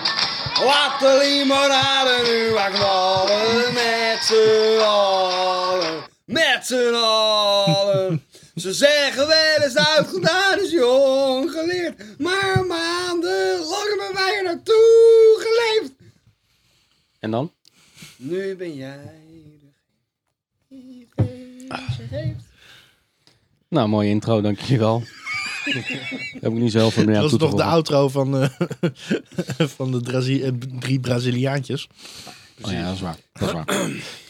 Laat de limonade nu maar knallen, met z'n allen, met z'n allen. Ze zeggen wel eens uitgedaan is jong geleerd, maar maanden lang hebben wij er naartoe geleefd.
En dan?
Nu ben jij
Nou, mooie intro, dankjewel. heb ik niet zoveel meer aan
Dat
toe
is
te
nog de
voegen.
outro van, eh, van de Brazi- eh, drie Braziliaantjes.
Oh ja, dat is waar. Dat is waar.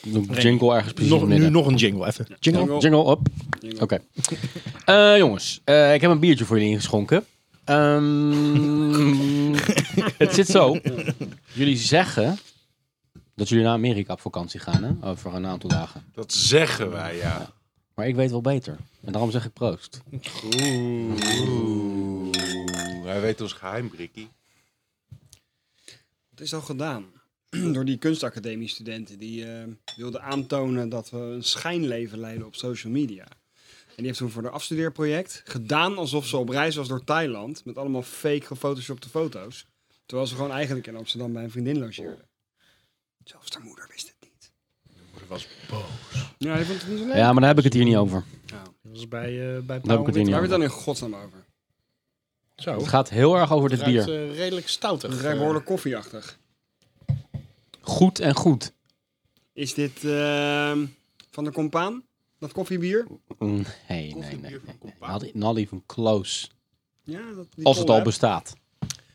Doe ik jingle ergens precies
Nog,
in het
nu
midden.
nog een jingle even. Jingle.
Jingle.
Jingle op. Oké.
Jingle.
Eh, jongens, eh, ik heb een biertje voor jullie ingeschonken. Ehm, het zit zo. Jullie zeggen dat jullie naar Amerika op vakantie gaan, hè? Over een aantal dagen.
Dat zeggen wij, ja.
Maar ik weet wel beter. En daarom zeg ik proost.
Oeh, Hij weet ons geheim, Brikkie.
Het is al gedaan door die kunstacademie-studenten. Die eh, wilden aantonen dat we een schijnleven leiden op social media. En die heeft toen voor een afstudeerproject gedaan alsof ze op reis was door Thailand. Met allemaal fake gefotoshopte foto's. Terwijl ze gewoon eigenlijk in Amsterdam bij een vriendin logeerde. Zelfs haar moeder wist het niet. Haar moeder was boos. Ja, hij vond het niet zo leuk.
Ja, maar daar heb ik het hier niet over.
Dat was bij, eh bij
Daar heb ik het hier niet
Waar heb je het
over.
dan in godsnaam over?
Zo.
Het gaat heel erg over
Het
dit
ruikt
bier.
eh, redelijk
Het
stoutig.
ruikt behoorlijk koffieachtig.
Goed en goed.
Is dit ehm, van de compaan? Dat koffiebier?
Nee, Mm, nee, nee. nee. Not, e-, not even close.
Ja, dat, die
Als het
kool,
al
hè?
bestaat.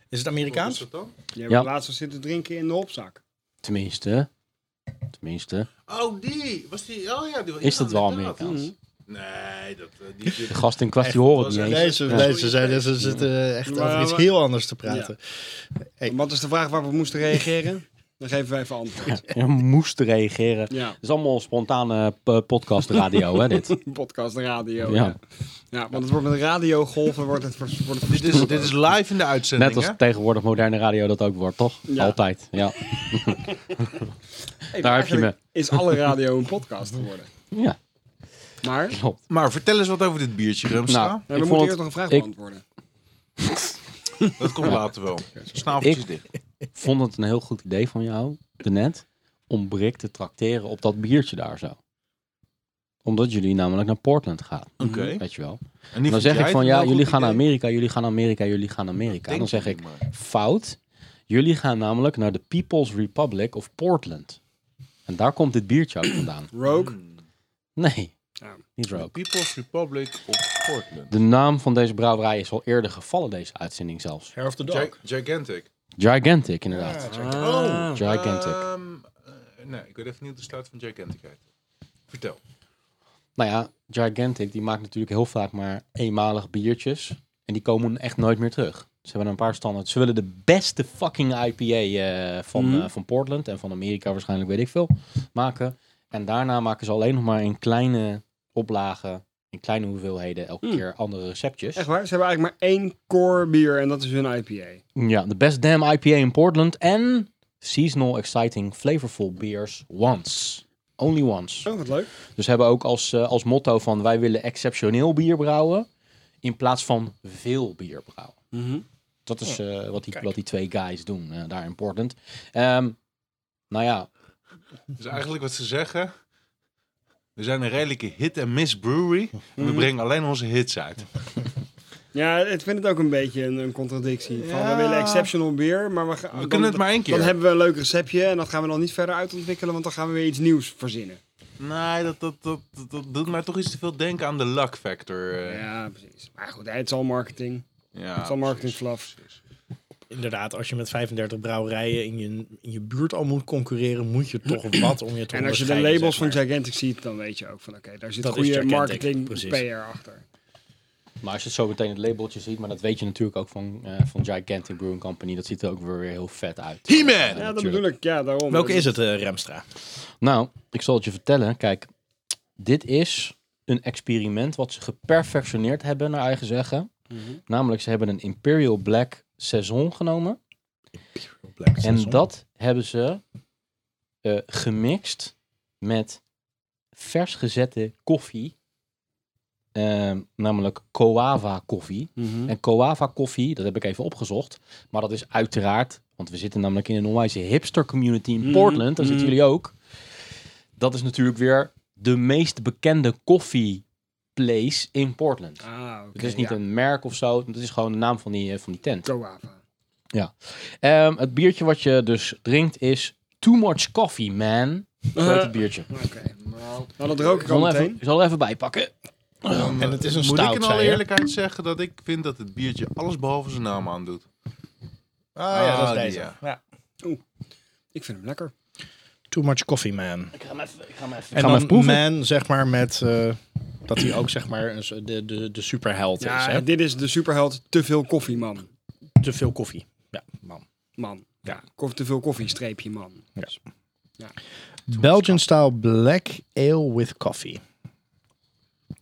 Is het Amerikaans?
dat dan?
Je hebt
Ja.
het laatst al zitten drinken in de opzak.
Tenminste. Tenminste.
Oh, die. Was die? Oh ja, die
Is dat wel
inderdaad.
Amerikaans?
Nee, dat... eh, die,
De
die-
gast in kwestie
Echt,
horen het
was
niet
echt-
eens.
Nee, ze,
Ja.
nee, ze zeiden ze zitten eh, echt
Maar-
over iets
maar-
heel anders te praten. Ik-
Wat is de vraag waar we moesten reageren? Dan geven wij even antwoord.
Je moest reageren.
Ja,
Het is allemaal spontane p- podcastradio, hè, dit.
podcast, radio.
Ja.
Ja. Ja. want het wordt met radiogolven wordt het, wordt het
dit, is, dit is live in de uitzending,
Net als
hè?
tegenwoordig moderne radio dat ook wordt, toch?
Ja.
Altijd, ja.
Hey,
Daar heb je
eigenlijk Is alle radio een podcast geworden?
Ja,
Maar nee,
klopt.
Maar vertel eens wat over dit biertje, Rumstra.
Nou,
we
ik
moeten
vond
eerst
het,
nog een vraag
ik-
beantwoorden.
Dat komt later wel. Snaveltjes dicht.
vond het een heel goed idee van jou, net om Brik te trakteren op dat biertje daar zo. Omdat jullie namelijk naar Portland gaan,
Oké.
weet je wel.
En
dan
die vond
zeg
jij
ik van,
het
ja,
een
jullie
goed
gaan naar
idee?
Amerika, jullie gaan naar Amerika, jullie gaan naar Amerika. Dan
Denk
zeg ik,
maar.
fout. Jullie gaan namelijk naar de People's Republic of Portland. En daar komt dit biertje ook vandaan.
Rogue.
Hmm.
Nee,
Ja.
niet
The
rook.
People's Republic of Portland.
De naam van deze brouwerij is al eerder gevallen, deze uitzending zelfs.
Hair of the
Gi- gigantic.
Gigantic, inderdaad.
Oh,
Gigantic.
ehm, eh, nee, ik weet even niet hoe de staat van Gigantic heet. Vertel.
Nou ja, Gigantic die maakt natuurlijk heel vaak maar eenmalig biertjes. En die komen echt nooit meer terug. Ze hebben een paar standaard. Ze willen de beste fucking IPA eh, van,
Mhm.
eh, van Portland en van Amerika waarschijnlijk, weet ik veel, maken. En daarna maken ze alleen nog maar in kleine oplagen, in kleine hoeveelheden, elke
Mm.
keer andere receptjes.
Echt waar? Ze hebben eigenlijk maar één core bier en dat is hun IPA.
Ja, de best damn IPA in Portland en seasonal exciting flavorful beers once. Only once.
Oh, wat leuk.
Dus hebben ook als, eh, als motto van wij willen exceptioneel bier brouwen in plaats van veel bier brouwen. Dat is eh, wat, die, wat die twee guys doen eh, daar in Portland. Ehm, nou ja,
Dus eigenlijk wat ze zeggen... We zijn een redelijke hit en miss brewery. En we brengen alleen onze hits uit.
Ja, ik vind het ook een beetje een, een contradictie. Van,
Ja.
we willen exceptional bier, maar we,
We kunnen het maar één keer.
Dan hebben we een leuk receptje en dat gaan we dan niet verder uitontwikkelen, want dan gaan we weer iets nieuws verzinnen.
Nee, dat, dat, dat, dat, dat doet mij toch iets te veel denken aan de luck factor. eh.
Ja, precies. Maar goed, het is al marketing.
Ja,
het is al marketing fluff.
Inderdaad, als je met 35 brouwerijen in je, in je buurt al moet concurreren, moet je toch wat om je te
En als je de
onderscheiden,
labels
zeg
van
maar.
Gigantic ziet, dan weet je ook van oké, daar zit
Dat is
goede
Gigantic,
marketing
precies.
PR achter.
maar als je zo meteen het labeltje ziet, maar dat weet je natuurlijk ook van, eh, van Gigantic Brewing Company, dat ziet er ook weer heel vet uit.
He-Man!
Eh,
Ja,
Ja, dat
natuurlijk.
bedoel ik. Ja, daarom.
Welke is het, eh, Remstra?
Nou, ik zal het je vertellen. Kijk, dit is een experiment wat ze geperfectioneerd hebben, naar eigen zeggen.
Mhm.
Namelijk, ze hebben een Imperial Black Saison genomen.
Black
En
Saison.
dat hebben ze eh, gemixt met vers gezette koffie. Ehm, namelijk Coava koffie.
Mhm.
En Coava koffie, dat heb ik even opgezocht. Maar dat is uiteraard, want we zitten namelijk in een onwijze hipster community in
Mhm,
Portland. Daar zitten
mhm.
jullie ook. Dat is natuurlijk weer de meest bekende koffieplace in Portland.
Ah, oké.
Dus het is niet
ja.
een merk of zo. Het is gewoon de naam van die, eh, van die tent.
Coava.
Ehm, het biertje wat je dus drinkt is Too Much Coffee Man. Zo heet
Eh,
het biertje.
Oké. Nou, dat rook
Ik
ik al
zal, er
meteen.
even, ik zal er even bij pakken.
En het is een
eh, Moet
stout,
ik in
zei
alle
je?
eerlijkheid zeggen dat ik vind dat het biertje alles behalve zijn naam aandoet.
Ah ja, dat
Ah,
is
die,
deze.
ja.
Ik vind hem lekker.
Too much coffee, man.
Ik ga hem even, ik ga hem even.
En
ga hem even
dan
proeven.
man, zeg maar, met eh, dat hij ook zeg maar een so- de, de, de superheld is.
Ja,
Hè?
dit is de superheld te veel koffie, man.
Te veel koffie. Ja, man.
Man. Ja. Koffie, te veel koffie, streepje, man.
Belgian style black ale with coffee.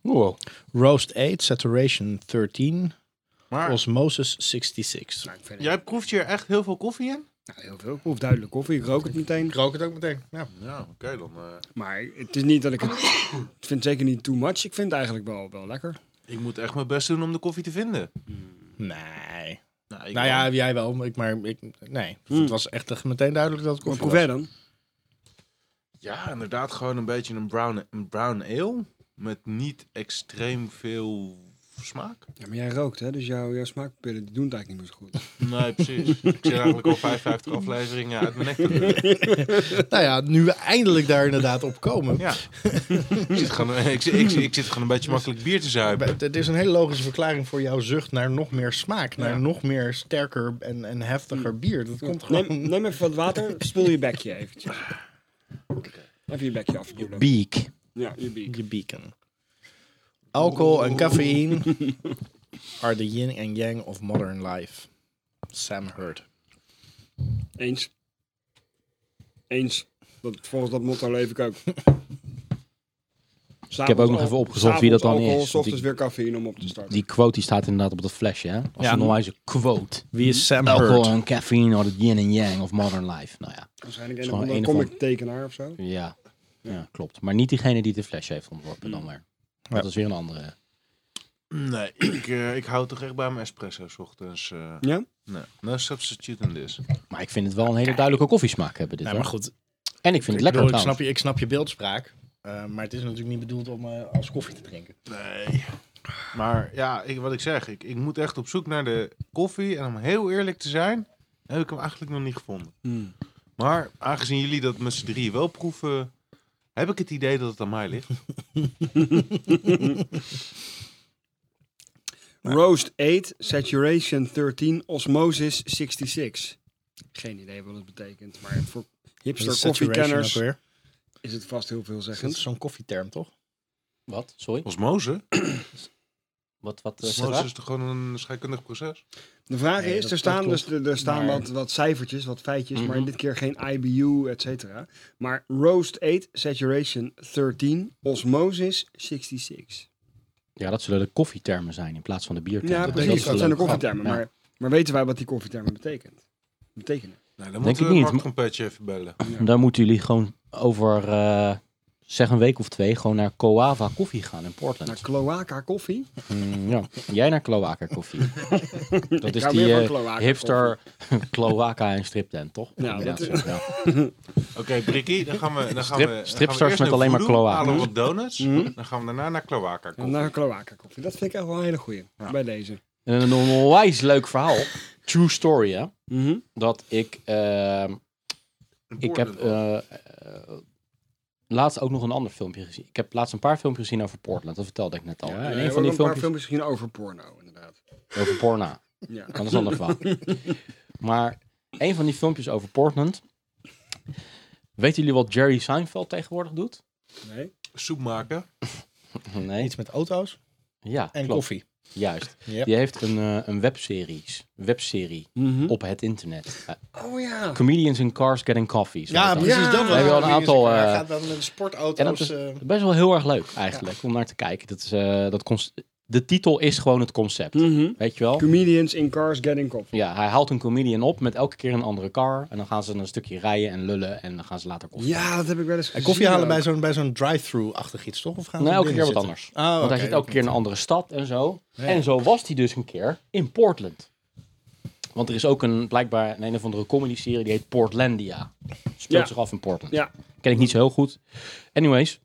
Wow.
Roast 8, saturation 13,
Maar
osmosis 66.
Nou, ik vind het-
jij proeft hier echt heel veel koffie in?
nou, heel veel. Ik proef duidelijk koffie. Ik rook het meteen.
Ik rook het ook meteen. Ja.
Ja, oké dan. eh,
Maar het is niet dat ik het... ik vind het zeker niet too much. Ik vind het eigenlijk wel, wel lekker.
ik moet echt mijn best doen om de koffie te vinden.
Nee.
Nou,
nou
ik wel.
ja, jij wel, maar ik, maar ik, nee.
Hmm.
Het was echt meteen duidelijk dat het
Wat
koffie was.
proef jij dan?
ja, inderdaad gewoon een beetje een brown, een brown ale met niet extreem veel smaak.
Ja, maar jij rookt, hè? Dus jouw, jouw smaakpillen die doen het eigenlijk niet meer zo goed.
Nee, precies. ik zit eigenlijk al 55 afleveringen uit mijn nek te lullen.
Nou ja, nu we eindelijk daar inderdaad op komen.
Ja. ik, zit gewoon, ik, zit- ik, zit- ik zit gewoon een beetje makkelijk bier te zuipen.
Het is een hele logische verklaring voor jouw zucht naar nog meer smaak. Naar
Ja.
nog meer sterker en, en heftiger bier. Dat komt gewoon...
Neem, neem even wat water. Spul je bekje eventjes. Even je bekje afspoelen.
Beak.
Ja, je biek.
Je beacon. Alcohol en cafeïne are the yin en yang of modern life. Sam Hurt.
Eens. Eens. Dat, volgens dat motto leef ik ook.
Ik heb ook nog even opgezocht wie dat dan is, want
S ochtends
ik-
weer cafeïne om op te starten.
Die quote die staat inderdaad op dat flesje, hè? Als
Ja.
een onwijze quote.
Wie is Sam
Alcohol en caffeine are the yin en yang of modern life. Nou ja,
Waarschijnlijk
is
een of
gewoon
andere
een of
comic tekenaar of zo.
ja. ja klopt. Maar niet diegene die de flesje heeft ontworpen dan weer. Dat
Mm. Ja.
is weer een andere.
Nee, ik, eh, ik hou toch echt bij mijn espresso 's ochtends. eh,
Ja?
nee. No substitute in this.
Maar ik vind het wel een hele duidelijke koffiesmaak hebben dit.
Nee,
hoor.
maar goed.
En ik vind het
ik,
lekker
bedoel, ik,
trouwens.
snap je, ik snap je beeldspraak. eh, maar het is natuurlijk niet bedoeld om eh, als koffie te drinken.
Nee. Maar ja, ik, wat ik zeg, ik, ik moet echt op zoek naar de koffie. En om heel eerlijk te zijn, heb ik hem eigenlijk nog niet gevonden. Maar aangezien jullie dat met z'n drieën wel proeven, heb ik het idee dat het aan mij ligt.
Roast 8, Saturation 13, Osmosis 66. Geen idee wat het betekent, maar voor hipster koffiekenners is het vast heel
Dat is
veelzeggend.
zo'n koffieterm, toch?
Wat? Sorry?
Osmose?
Wat, wat, eh, zit
Osmose
eraan?
is toch gewoon een scheikundig proces?
De vraag
Nee,
is,
dat-
er staan,
dat
dus, er er staan
Maar-
wat, wat cijfertjes, wat feitjes, maar
Mhm.
dit keer geen IBU, et cetera. Maar Roast 8, Saturation 13, Osmosis 66.
Ja, dat zullen de koffietermen zijn in plaats van de biertermen.
Ja,
Dus
dat
precies,
is
is
dat
wel
zijn de
leuk.
koffiethermen.
Ja.
Maar, maar weten wij wat die koffiethermen betekent? betekenen?
Nee, dan
Denk
moeten
ik
we
niet.
Mark Trompetje even bellen.
Dan moeten jullie gewoon over, eh, zeg een week of twee, gewoon naar Coava Koffie gaan in
Naar
Portland.
cloaca koffie?
Mm, ja. Jij naar Cloaca Koffie. dat is
hou
die
meer van
eh,
Cloaca
hipster Cloaca en striptent, toch?
Ja,
Inderdaad,
dat
zo, ja.
Oké, Brikkie, dan gaan we... Dan gaan
Strip-
we dan
stripstars
gaan we
met
eerst naar
alleen maar
Voodoo,
kloaken.
Halen we wat donuts.
Mhm.
Dan gaan we daarna naar Kloaka
Ja, naar cloaca koffie. Dat vind ik echt wel een hele goeie. Bij deze.
En een onwijs leuk verhaal. True story, hè?
Eh,
Dat ik ehm, Ik heb eh, eh, laatst ook nog een ander filmpje gezien. Ik heb laatst een paar filmpjes gezien over Portland. Dat vertelde ik net al. hè? En een van die
een paar
filmpjes
filmpjes gezien over porno, inderdaad.
over porna.
Ja.
Dat is een ander verhaal. maar een van die filmpjes over Portland. Weten jullie wat Jerry Seinfeld tegenwoordig doet?
Nee?
Soep maken.
Nee.
Iets met auto's
Ja,
en
klopt.
koffie.
Juist.
Yep.
Die heeft een, eh, een webseries, webserie
Hm?
op het internet. Eh,
Oh ja.
Comedians in Cars Getting Coffee. zo heet dat.
precies, dat
wel. Heb je wel een aantal,
Hij
eh,
gaat dan met de
En dat
sportauto's.
is
eh,
best wel heel erg leuk eigenlijk om naar te kijken. Dat is, eh, dat cons- de titel is gewoon het concept.
Hmm.
Mhm.
Weet je wel?
Comedians in cars getting coffee.
Ja, hij haalt een comedian op met elke keer een andere car. En dan gaan ze een stukje rijden en lullen. En dan gaan ze later koffie.
Ja, dat heb ik wel eens
en
gezien.
koffie halen
ook.
bij zo'n, bij zo'n drive-through-achtig iets, toch? Of gaan
Nee, Nou,
ze
elke keer
binnen
wat
zitten?
anders.
Ah,
Want hij
oké.
zit elke keer in een andere stad en zo. En zo was hij dus een keer in Portland. Want er is ook een, blijkbaar een, een of andere comedy-serie die heet Portlandia. Speelt
Ja.
zich af in Portland.
Ja.
Ken ik niet zo heel goed. Anyways,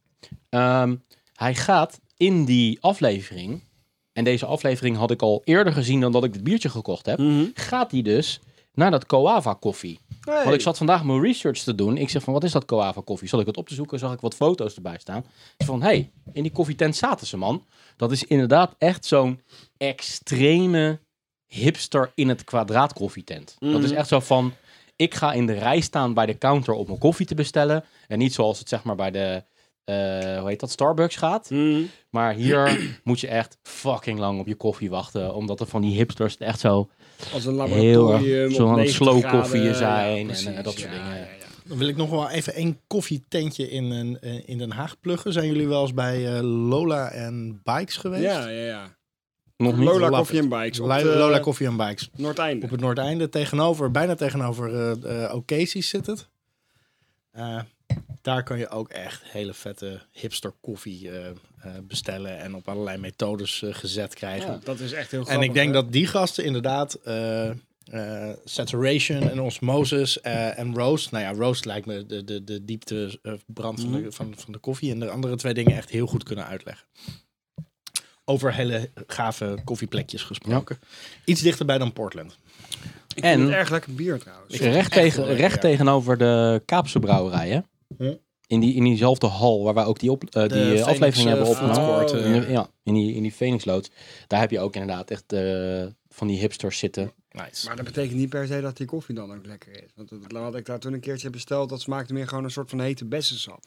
ehm, hij gaat in die aflevering. En deze aflevering had ik al eerder gezien dan dat ik het biertje gekocht heb. Gaat hij dus naar dat Coava koffie. Want ik zat vandaag mijn research te doen. Ik zeg van, wat is dat Coava koffie? Zat ik het op te zoeken, zag ik wat foto's erbij staan. Ik Van, hé, hey, in die koffietent zaten ze, man. Dat is inderdaad echt zo'n extreme hipster in het kwadraat koffietent. Dat is echt zo van, ik ga in de rij staan bij de counter om mijn koffie te bestellen. En niet zoals het zeg maar bij de, eh, hoe heet dat, Starbucks gaat.
Mhm.
Maar hier moet je echt fucking lang op je koffie wachten. Omdat er van die hipsters het echt zo
Als een
heel
laboratorium.
erg
op
zo aan het
90
slow
graden.
koffieën zijn.
Ja,
en eh,
precies.
dat soort
Ja,
dingen.
ja, ja.
Dan wil ik nog wel even één koffietentje in, een- eh, in Den Haag pluggen. Zijn jullie wel eens bij eh, Lola en Bikes geweest?
Ja, ja, ja.
Nog niet?
Lola
Love
Coffee
it.
and Bikes. Op eh,
Li-
de-
Lola Coffee en Bikes.
Noordeinde.
Op het Noordeinde, tegenover, bijna tegenover eh eh, O'Casey's zit het. Eh, daar kan je ook echt hele vette hipster koffie eh, eh, bestellen en op allerlei methodes eh, gezet krijgen.
Ja.
Dat is echt heel
en
grappig.
ik denk
hè?
dat die gasten inderdaad eh, eh, saturation en osmosis eh, en roast. Nou ja, roast lijkt me de, de, de dieptebrand van, de, van, van de koffie. En de andere twee dingen echt heel goed kunnen uitleggen. Over hele gave koffieplekjes gesproken. Iets dichterbij dan Portland.
Ik vind
En-
het erg lekker bier trouwens.
Recht, tegen,
lekker,
recht
ja.
tegenover de Kaapse brouwerij, hè?
Hm?
In, die, in diezelfde hal waar wij ook die, op, eh, die eh,
Phoenix,
aflevering
eh,
hebben
food
opgenomen.
court,
Oh,
eh,
In de- ja, in die, in die Phoenixloods. Daar heb je ook inderdaad echt eh, van die hipsters zitten.
Nice.
Maar dat betekent niet per se dat die koffie dan ook lekker is. Want dat- dat had ik daar toen een keertje besteld, dat smaakte meer gewoon een soort van hete bessensap.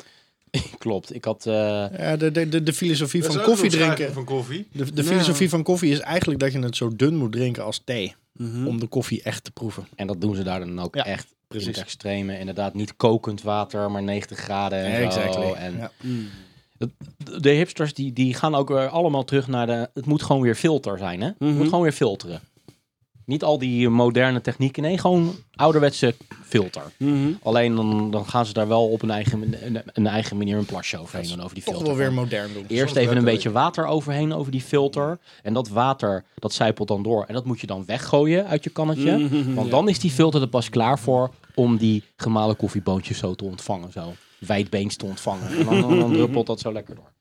Klopt. Ik had... eh,
Ja, de, de, de, de filosofie
Dat is
van
ook
koffie
een omschrijving
drinken.
Van koffie.
De, de
Ja.
filosofie van koffie is eigenlijk dat je het zo dun moet drinken als thee. Om de koffie echt te proeven.
en dat doen ze daar dan ook
Ja,
echt
precies.
in het extreme. Inderdaad, niet kokend water, maar 90 graden en zo. En
Ja.
de- de hipsters die, die gaan ook weer allemaal terug naar de... Het moet gewoon weer filter zijn, hè? Het
Mhm.
moet gewoon weer filteren. Niet al die moderne technieken. Nee, gewoon ouderwetse filter.
Mhm.
Alleen dan, dan gaan ze daar wel op een eigen, een, een eigen manier een plasje overheen doen over die
Toch
filter.
wel weer modern doen.
Eerst even een beetje water overheen over die filter. En dat water, dat zijpelt dan door. En dat moet je dan weggooien uit je kannetje.
Mm-hmm,
Want dan is die filter er pas klaar voor om die gemalen koffieboontjes zo te ontvangen. Zo wijdbeens te ontvangen. En dan, dan, dan druppelt dat zo lekker door.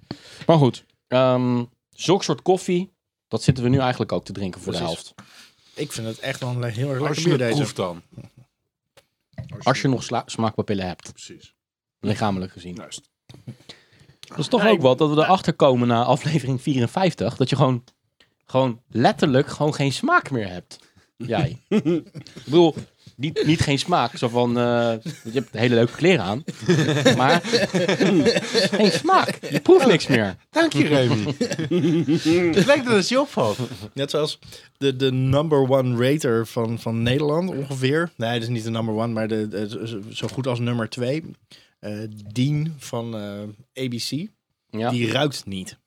Maar goed, ehm zulk soort koffie, dat zitten we nu eigenlijk ook te drinken voor de
Precies.
helft.
Ik vind het echt wel een heel erg
Als
lekker
je
bier
het
deze.
proeft dan.
Als je nog sla- smaakpapillen hebt,
Precies.
lichamelijk gezien.
Juist.
Dat is toch ook wat dat we erachter komen na aflevering 54. Dat je gewoon, gewoon letterlijk gewoon geen smaak meer hebt. Jij. Ik bedoel, niet, niet geen smaak. Zo van, eh, je hebt hele leuke kleren aan. Maar mm, geen smaak. Je proeft niks meer.
Dank je, Remy. het lijkt dat het je opvalt.
Net zoals de, de number one rater van, van Nederland ongeveer. Nee, dat is niet de number one, maar de, de- zo goed als nummer twee. Eh, Dean van eh, ABC.
Ja.
Die ruikt niet.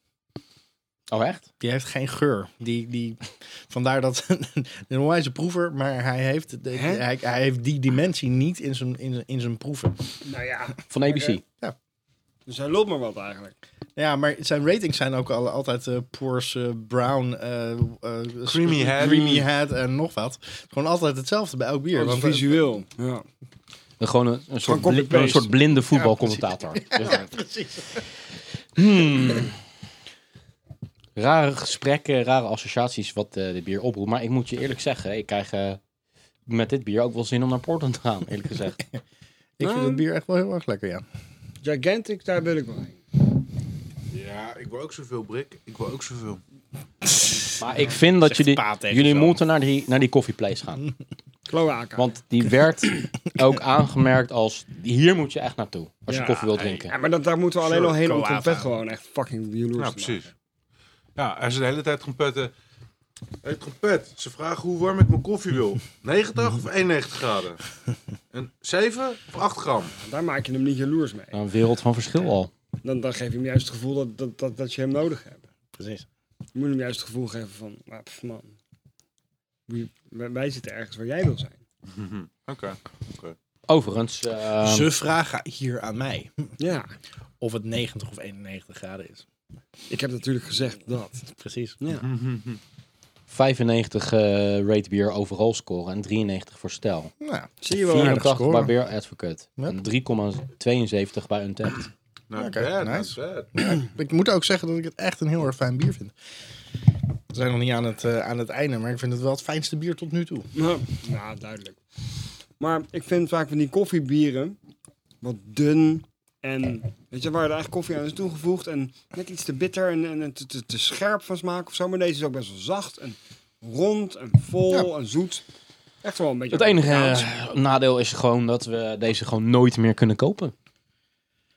Oh, echt?
Die heeft geen geur. Die, die, vandaar dat een onwijze proever, maar hij heeft, de- hij, hij heeft die dimensie niet in zijn, in zijn, in zijn proeven.
Nou ja,
Van ABC.
dus hij loopt maar wat eigenlijk.
Ja, maar zijn ratings zijn ook al, altijd eh Poor's eh, Brown, eh, eh,
Creamy Head.
creamy head en nog wat. Gewoon altijd hetzelfde bij elk bier.
Dat is
want, eh,
visueel. Ja.
Gewoon een, een, soort,
copy-paste.
bli- een soort blinde voetbalcommentator. Ja. Hmm.
precies.
Rare gesprekken, rare associaties wat eh, dit bier oproept. Maar ik moet je eerlijk zeggen, ik krijg eh, met dit bier ook wel zin om naar Portland te gaan, eerlijk gezegd.
Ik vind het bier echt wel heel erg lekker, ja.
Gigantic, daar wil ik wel heen.
Ja, ik wil ook zoveel, Brik. Ik wil ook zoveel.
Maar ik vind dat
Zegt
jullie,
Pa tegen
jullie
zo. Nou.
moeten naar die, naar die koffieplace gaan.
Kloaka.
Want die werd ook aangemerkt als, hier moet je echt naartoe. Als je
Ja,
koffie wilt
hey,
drinken.
Ja, maar dat, daar moeten we alleen
Soort
al heen om
kloaka.
trompet gewoon echt fucking jaloers
Ja,
te
precies. Ja, hij is de hele tijd trompetten. Hé, hey, trompet. Ze vragen hoe warm ik mijn koffie wil. 90 of 91 graden? En 7 of 8 gram?
maken. Daar maak je hem niet jaloers mee.
Een wereld van verschil al.
Dan, dan geef je hem juist het gevoel dat, dat, dat, dat je hem nodig hebt.
Precies.
Je moet hem juist het gevoel geven van, ah, pff, man, Wie- wij, wij zitten ergens waar jij wil zijn.
Oké.
Overigens, eh,
Ze vragen hier aan mij
Ja,
of het 90 of 91 graden is.
ik heb natuurlijk gezegd dat.
Precies. Mhm.
Ja.
95 eh rate bier overal scoren en 93 voor stijl.
Nou,
Zie je wel.
Aardig
84
scoren.
bij Beer Advocate.
Yep.
En 3,72 bij Untapped.
Nou,
Oké,
bad,
nice.
not bad.
ik moet ook zeggen dat ik het echt een heel erg fijn bier vind. We zijn nog niet aan het, eh, aan het einde, maar ik vind het wel het fijnste bier tot nu toe.
Ja, ja, duidelijk. Maar ik vind vaak van die koffiebieren wat dun en weet je waar er eigenlijk koffie aan is toegevoegd en net iets te bitter en, en, en te, te, te scherp van smaak of zo. Maar deze is ook best wel zacht en rond en vol en zoet. Echt wel een beetje.
Het enige
Amerikaans.
eh, nadeel is gewoon dat we deze gewoon nooit meer kunnen kopen.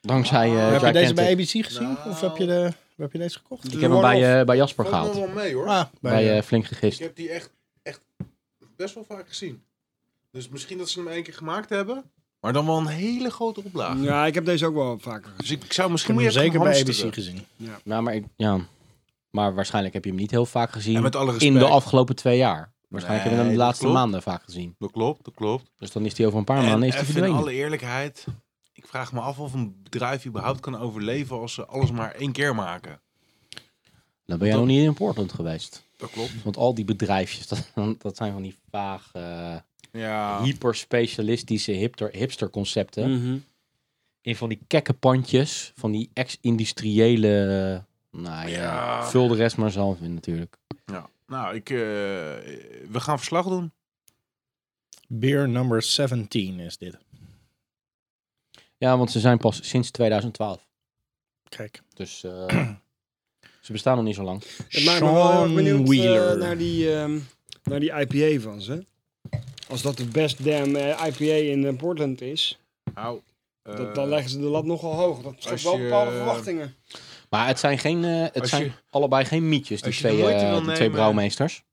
Dankzij eh
heb je
Jack
deze
Kent.
bij ABC gezien? Of heb je, de, waar heb je deze gekocht?
Ik heb hem bij, eh, bij Jasper
Valt me
gehaald.
wel mee, hoor.
Ah, bij,
Bij
eh,
eh, Flink
Ik
Gegist.
heb die echt, echt best wel vaak gezien. Dus misschien dat ze hem één keer gemaakt hebben. Maar dan wel een hele grote oplage.
Ja, ik heb deze ook wel vaker gezien.
Dus ik, ik zou
ik
misschien
heb
moet
hem
je
zeker bij ABC
ABC.
gezien.
Nou, maar, ik- ja. maar waarschijnlijk heb je hem niet heel vaak gezien
En met alle respect.
in de afgelopen twee jaar. Waarschijnlijk hebben we hem
Nee,
de
dat
laatste
klopt.
maanden vaak gezien.
Dat klopt, dat klopt.
Dus dan is hij over een paar
En
maanden is hij
even in
verdwenen.
alle eerlijkheid. Ik vraag me af of een bedrijf überhaupt kan overleven als ze alles maar één keer maken.
Dan ben jij nog niet in Portland geweest.
Dat klopt.
Want al die bedrijfjes, dat, dat zijn van die vaag, eh,
Ah.
Ja.
hyperspecialistische hipster, hipster concepten.
Hmm.
in van die kekke pandjes, van die ex-industriële. Nou ja,
Ja.
vul de rest maar zelf in natuurlijk.
ja. Nou, ik, eh, we gaan verslag doen.
Beer number 17 is dit.
Ja, want ze zijn pas sinds 2012.
Kijk.
Dus eh, ze bestaan nog niet zo lang.
Het maakt me wel heel erg
Sean
benieuwd eh,
Wheeler.
naar, die, ehm, naar die IPA van ze. Als dat de best damn eh, IPA in eh, Portland is,
Au.
Eh,
Dat, dan leggen ze de lat nogal hoog. Dat
als
is wel
je-
bepaalde verwachtingen.
Maar het zijn, geen, eh, het
Als
zijn
je-
allebei geen mietjes, die
als je de
twee, eh,
Leute wil
die twee
nemen-
brouwmeesters.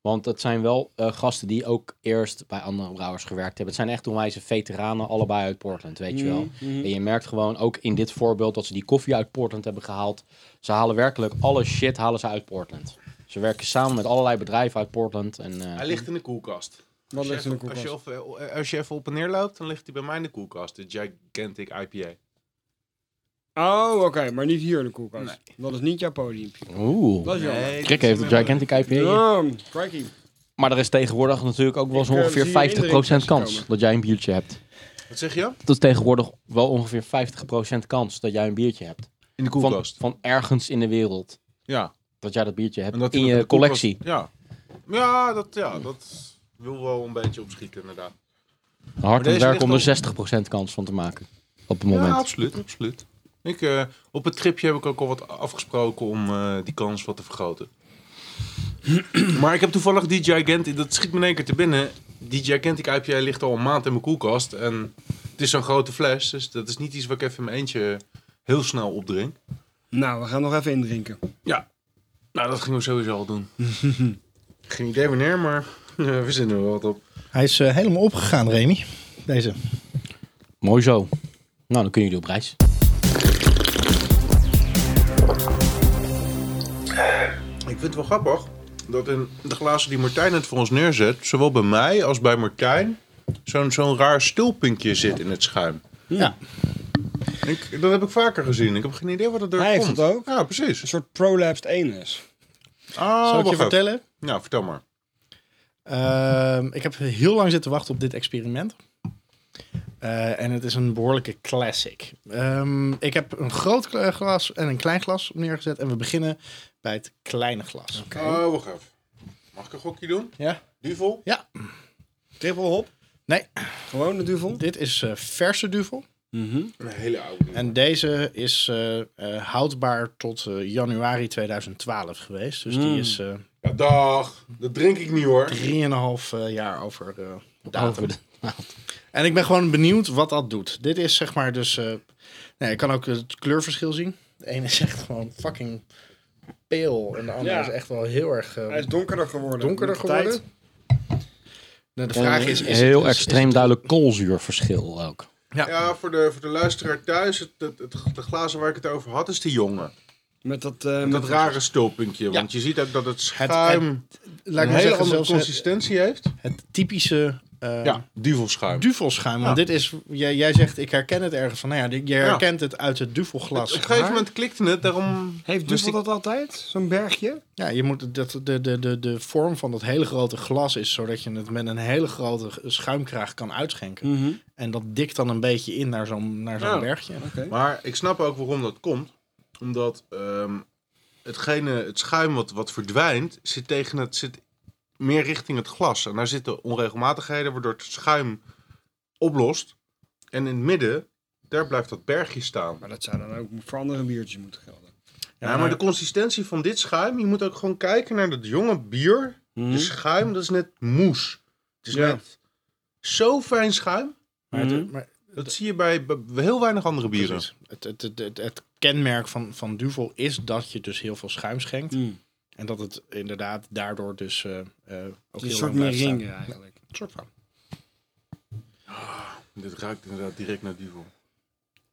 Want het zijn wel eh, gasten die ook eerst bij andere brouwers gewerkt hebben. Het zijn echt onwijze veteranen, allebei uit Portland, weet je
Hmm.
wel.
Mhm.
En je merkt gewoon, ook in dit voorbeeld, dat ze die koffie uit Portland hebben gehaald. Ze halen werkelijk alle shit halen ze uit Portland. Ze werken samen met allerlei bedrijven uit Portland. En, eh,
Hij ligt in de koelkast.
Wat
Als je
ligt in de
even-
koelkast?
Als je, even- als je even op en neer loopt, dan ligt hij bij mij in de koelkast. De Gigantic IPA.
Oh, oké, maar niet hier in de koelkast. Dat is niet jouw podium.
Oeh.
Dat is jammer.
Kijk even, de Gigantic IPA.
Ja, crikey.
Maar er is tegenwoordig natuurlijk ook wel eens
Ik, eh,
ongeveer
zie je
50% kans
indringertjes
dat jij een biertje hebt.
Wat zeg je?
Dat is tegenwoordig wel ongeveer 50% kans dat jij een biertje hebt.
In de
Van,
koelkast.
van ergens in de wereld.
ja.
Dat jij dat biertje hebt
Omdat hij
in
nog
je
de koelkast-
collectie.
Ja. Ja, dat, ja, dat wil wel een beetje opschieten inderdaad.
Hard
deze
en werk
ligt
om
al-
er 60% kans van te maken. Op het moment.
Ja, absoluut, absoluut. Ik, eh, op het tripje heb ik ook al wat afgesproken om eh, die kans wat te vergroten. maar ik heb toevallig die Gigantic, dat schiet me in één keer te binnen. Die Gigantic IPA ligt al een maand in mijn koelkast. En het is zo'n grote fles, dus dat is niet iets wat ik even in mijn eentje heel snel opdrink.
Nou, we gaan nog even indrinken.
Nou, dat gingen we sowieso al doen. Geen idee wanneer, maar eh, we zinnen er wel wat op.
Hij is eh, helemaal opgegaan, Remy.
Oh,
Deze.
Mooi zo. Nou, dan kunnen jullie op reis.
Ik vind het wel grappig dat in de glazen die Martijn het voor ons neerzet, zowel bij mij als bij Martijn, zo'n zo'n raar stilpuntje zit in het schuim.
Ja.
Ik, dat heb ik vaker gezien. Ik heb geen idee wat het er
Hij heeft
komt.
het ook.
Ja,
Een
precies.
soort prolapsed anus.
Zal
Ah,
ik
wacht
je
even.
vertellen?
Nou, vertel maar.
Ehm, ik heb heel lang zitten wachten op dit experiment. Eh, en het is een behoorlijke classic. Ehm, ik heb een groot kle- glas en een klein glas neergezet. En we beginnen bij het kleine glas.
Oh, wacht even. Mag ik een gokje doen?
Ja.
Duvel?
Triple hop?
Nee.
Gewoon de duvel?
Dit is eh, verse duvel.
Een hele oude.
En deze is eh, eh, houdbaar tot eh, januari 2012 geweest. Dus die is eh 3,5
Ja, dag. Dat drink ik niet hoor.
eh, jaar over eh datum. En ik ben gewoon benieuwd wat dat doet. Dit is zeg maar dus... eh nou, je kan ook het kleurverschil zien. De ene is echt gewoon fucking peel. En de andere
Ja.
is echt wel heel erg eh,
Hij is donkerder geworden.
donkerder
Met de tijd.
geworden. Nou, de vraag is... is
heel
het- is- is
extreem
het-
duidelijk koolzuurverschil ook.
Ja, voor de, voor de luisteraar thuis, het, het, het- de glazen waar ik het over had, is die jongen.
Met dat... eh, met
Dat rare stilpuntje. Want je ziet ook dat het schuim
laat ik
een
maar
hele
zeggen,
andere
zelfs het,
consistentie heeft.
het typische... eh,
Ja, duvelschuim.
duvelschuim. Want dit is, jij, jij zegt, ik herken het ergens van. Nou ja, dit- je herkent het uit het duvelglas.
Op een gegeven moment klikte het, daarom...
Heeft
wist
duvel
ik-
dat altijd? Zo'n bergje?
Ja, je moet dat, de, de, de, de vorm van dat hele grote glas is zodat je het met een hele grote g- schuimkraag kan uitschenken.
Mhm.
En dat dikt dan een beetje in naar zo'n naar zo'n
Ja.
bergje.
Maar ik snap ook waarom dat komt. Omdat ehm, hetgene, het schuim wat, wat verdwijnt, zit, tegen het, zit meer richting het glas. En daar zitten onregelmatigheden, waardoor het schuim oplost. En in het midden, daar blijft dat bergje staan.
Maar dat zou dan ook voor andere biertjes moeten gelden.
Ja, maar de consistentie van dit schuim, je moet ook gewoon kijken naar dat jonge bier. De
Dus-
schuim, dat is net moes. Het is
Ja.
net zo fijn schuim.
Maar,
Mm-hmm.
Hmm.
het, maar
Dat zie je bij, bij heel weinig andere bieren.
precies. Het, het, het, het, het kenmerk van, van duvel is dat je dus heel veel schuim schenkt.
Mm.
En dat het inderdaad daardoor dus eh, eh, ook
Een
heel
soort
lang blijft staan.
meringue eigenlijk.
Een soort van.
Dit ruikt inderdaad direct naar duvel.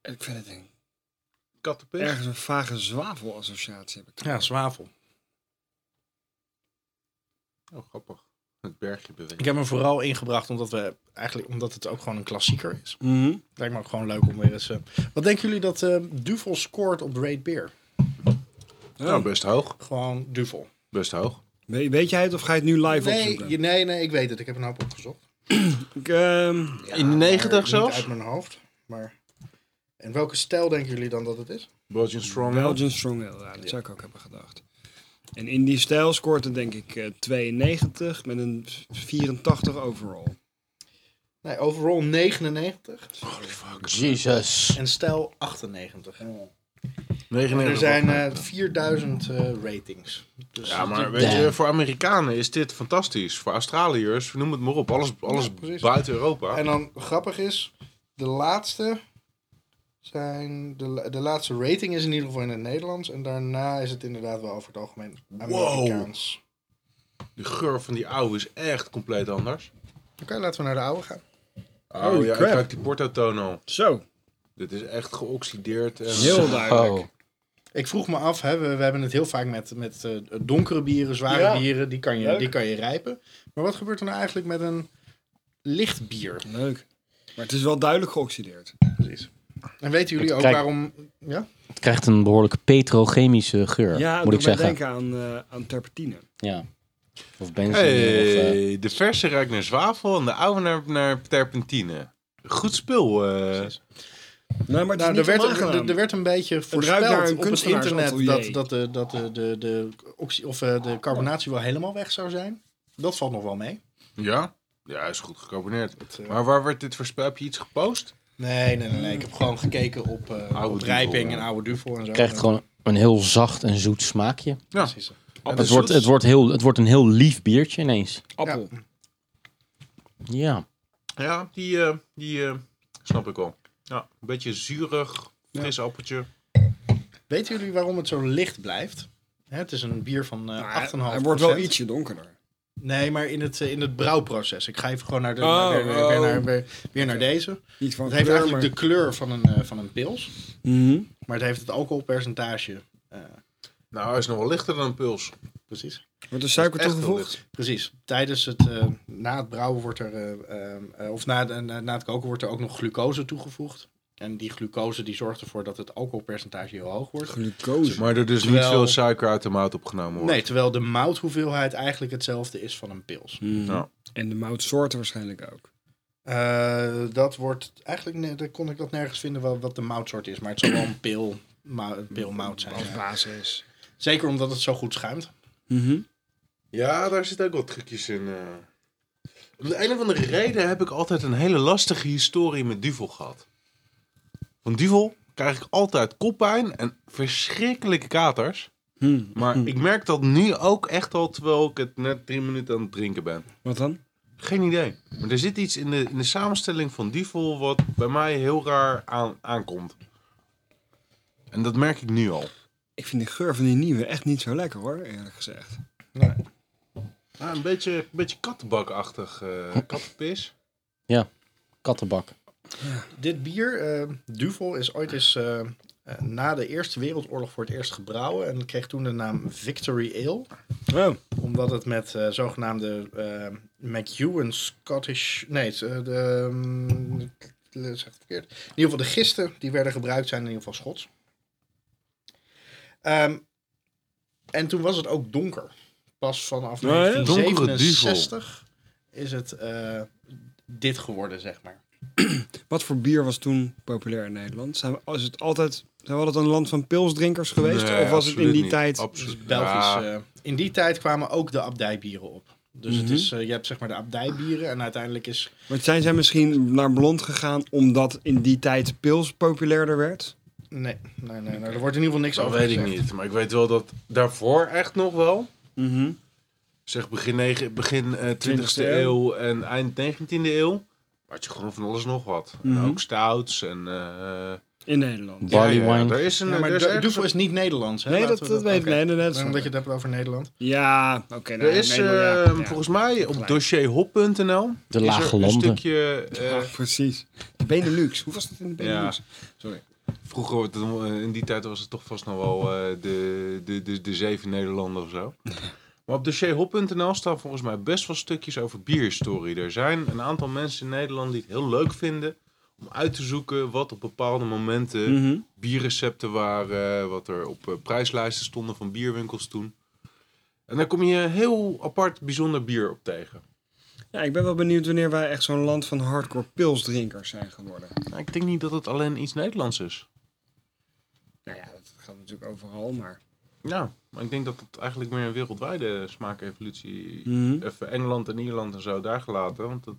Ik vind het eng.
Kattenpis.
Ergens een vage zwavelassociatie heb ik.
Ja, zwavel.
Oh, grappig. Het bergje beweegt.
Ik heb hem vooral ingebracht omdat, we, eigenlijk, omdat het ook gewoon een klassieker is. Lijkt me ook gewoon leuk om weer eens... eh, wat denken jullie dat eh, Duvel scoort op Raid Beer?
Nou, best hoog.
Gewoon Duvel.
Best hoog.
We- weet jij het of ga je het nu live
Nee,
opzoeken?
je- nee, nee, ik weet het. Ik heb een hoop opgezocht.
Ik, ehm,
In de
Maar
90
Niet
zelfs?
uit mijn hoofd. Maar... En welke stijl denken jullie dan dat het is?
Belgian Strong.
Belgian Strong Ale, ja, dat zou ik ook hebben gedacht. En in die stijl scoort het denk ik eh, 92 met een 84 overall.
Nee, overall 99
Jesus.
en stijl 98. Er
99.
zijn eh, 4000 eh, ratings. Dus
Ja, maar weet je, voor Amerikanen is dit fantastisch. Voor Australiërs, noem het maar op. Alles, alles
Ja, precies.
buiten Europa.
En dan grappig is, de laatste zijn de, la- de laatste rating is in ieder geval in het Nederlands. En daarna is het inderdaad wel over het algemeen Amerikaans.
De geur van die oude is echt compleet anders.
Oké, laten we naar de oude gaan.
Oh,
Holy
ja, ik
crap.
ruik die portotoon al.
Zo,
Dit is echt geoxideerd. En...
heel duidelijk.
Oh.
Ik vroeg me af, hè, we, we hebben het heel vaak met, met eh, donkere bieren, zware
Ja.
bieren, die kan, je,
Leuk.
die kan je rijpen. Maar wat gebeurt er nou eigenlijk met een licht bier?
Leuk. Maar het is wel duidelijk geoxideerd.
Precies. En weten jullie ook
Kijk.
waarom... Ja?
Het krijgt een behoorlijke petrochemische geur,
Ja,
moet
moet
ik zeggen.
denken aan, eh, aan terpentine.
Ja. Of benzine. Of, eh,
Hey, de verse ruikt naar zwavel en de oude naar, naar terpentine. Goed spul. eh.
Nee, maar het is
Nou, er
niet
werd,
onaangenaam.
er, er werd een beetje
naar
voorspeld
een
op het internet
kunstenaarsatelier.
dat, dat, de, dat de, de, de, oxy, of, eh, de carbonatie wel helemaal weg zou zijn. Dat valt nog wel mee.
Ja? Ja, is goed gecarboneerd.
Het, eh,
Maar waar werd dit voorspeld? Heb je iets gepost?
nee, nee, nee, nee. Ik heb gewoon gekeken op, eh,
Oude
op
Duvel,
rijping
ja.
en oude duvel en zo.
Het krijgt gewoon een heel zacht en zoet smaakje.
Ja. dus
Precies.
Het wordt, het, wordt heel, het wordt een heel lief biertje ineens.
Appel.
Ja.
Ja, die, eh, die eh, snap ik wel. Ja, een beetje zuurig, fris appeltje.
Weten jullie waarom het zo licht blijft? Hè, het is een bier van eh
Maar
8,5
hij, hij wordt wel ietsje donkerder.
Nee, maar in het, eh, in het brouwproces. Ik ga even gewoon naar de,
Oh,
naar- weer, weer
oh.
naar, weer, weer naar deze.
Iets van
Het heeft
kleur,
eigenlijk de
maar-
kleur van een, eh, van een pils.
Mhm.
Maar het heeft het alcoholpercentage. eh,
Nou, hij is nog wel lichter dan een puls.
precies.
Wordt er suiker
Echt wel
toegevoegd?
licht.
Precies. Tijdens het, eh, na het brouwen wordt er, eh, ehm, eh, of na, de- na, na het koken wordt er ook nog glucose toegevoegd. En die glucose die zorgt ervoor dat het alcoholpercentage heel hoog wordt.
Glucose.
Maar er dus
Terwijl-
niet veel suiker uit de mout opgenomen wordt.
Nee, terwijl de mouthoeveelheid eigenlijk hetzelfde is van een pils.
Mhm.
Ja.
En de moutsoorten waarschijnlijk ook.
Eh, dat wordt eigenlijk, nee, daar kon ik dat nergens vinden wat, wat de moutsoort is. Maar het zal wel een pil, mou- een pilmout zijn.
Als basis.
Zeker omdat het zo goed schuimt.
Mhm.
Ja, daar zitten ook wel trucjes in. eh. Om de een of andere reden heb ik altijd een hele lastige historie met Duvel gehad. Van Duvel krijg ik altijd koppijn en verschrikkelijke katers.
Hmm.
Maar ik merk dat nu ook echt al terwijl ik het net drie minuten aan het drinken ben.
Wat dan?
Geen idee. Maar er zit iets in de, in de samenstelling van Duvel wat bij mij heel raar aan, aankomt. En dat merk ik nu al.
Ik vind de geur van die nieuwe echt niet zo lekker hoor, eerlijk gezegd.
Ja, Ah, een beetje, een beetje kattenbakachtig. eh kattenpis.
Kattenbak.
Dit bier, eh, Duvel, is ooit eens eh, eh, na de Eerste Wereldoorlog voor het eerst gebrouwen. En kreeg toen de naam Victory Ale.
Oh,
Omdat het met eh, zogenaamde eh McEwan Scottish... Nee, het, eh, de... mm, ik zeg het verkeerd. In ieder geval de gisten die werden gebruikt zijn in ieder geval Schots. Ehm, en toen was het ook donker. Pas vanaf
ja? Donkere
1967 is het eh, dit geworden, zeg maar.
wat voor bier was toen populair in Nederland? Zijn we, is het altijd, zijn we altijd een land van pilsdrinkers geweest?
Nee,
of was het in
absoluut
die
niet.
tijd...
Absoluut.
Belgisch.
Ja.
eh, Dus in die tijd kwamen ook de abdijbieren op. Dus
Mhm.
het is, eh, je hebt zeg maar de abdijbieren en uiteindelijk is
Want zijn zij misschien naar blond gegaan omdat in die tijd pils populairder werd?
Nee, nee, nee, nee. Er wordt in ieder geval niks
Dat
over
weet ik
gezegd.
niet. Maar ik weet wel dat daarvoor echt nog wel.
Mhm.
Zeg begin, negen, begin eh, 20e
20e
eeuw en eind 19e eeuw. Had je gewoon van alles nog wat.
Mhm.
En ook stouts en... eh
In Nederland.
Barley
ja, ja,
wine.
Er is een...
Ja, maar
er is
Du-
ergens
Duvel is niet Nederlands, hè?
Nee,
Laten
dat,
we
dat weet ik.
oké.
Nee, nee, nee, dat
Maar
is
Omdat je ehm,
waar.
het hebt over Nederland.
Ja, oké. nou,
Er is
nee, maar ja,
eh,
ja.
volgens mij op
Gelijk.
dossierhop.nl
De
is er
lage
een
landen.
stukje... eh,
Ja, precies. De Benelux. Hoe was dat in de
Ja.
Benelux? Sorry.
Vroeger, wordt het, eh, in die tijd was het toch vast nog wel eh, de, de, de, de zeven Nederlanden of zo. Maar op dossierhop.nl staan volgens mij best wel stukjes over bierhistorie. Er zijn een aantal mensen in Nederland die het heel leuk vinden om uit te zoeken wat op bepaalde momenten
Mhm.
bierrecepten waren, wat er op eh, prijslijsten stonden van bierwinkels toen. En daar kom je heel apart bijzonder bier op tegen.
Ja, ik ben wel benieuwd wanneer wij echt zo'n land van hardcore pilsdrinkers zijn geworden.
Nou, ik denk niet dat het alleen iets Nederlands is.
Nou ja, dat gaat natuurlijk overal, maar...
Ja, maar ik denk dat het eigenlijk meer een wereldwijde smaakevolutie
Mhm.
even Engeland en Ierland en zo daar gelaten. Want dat,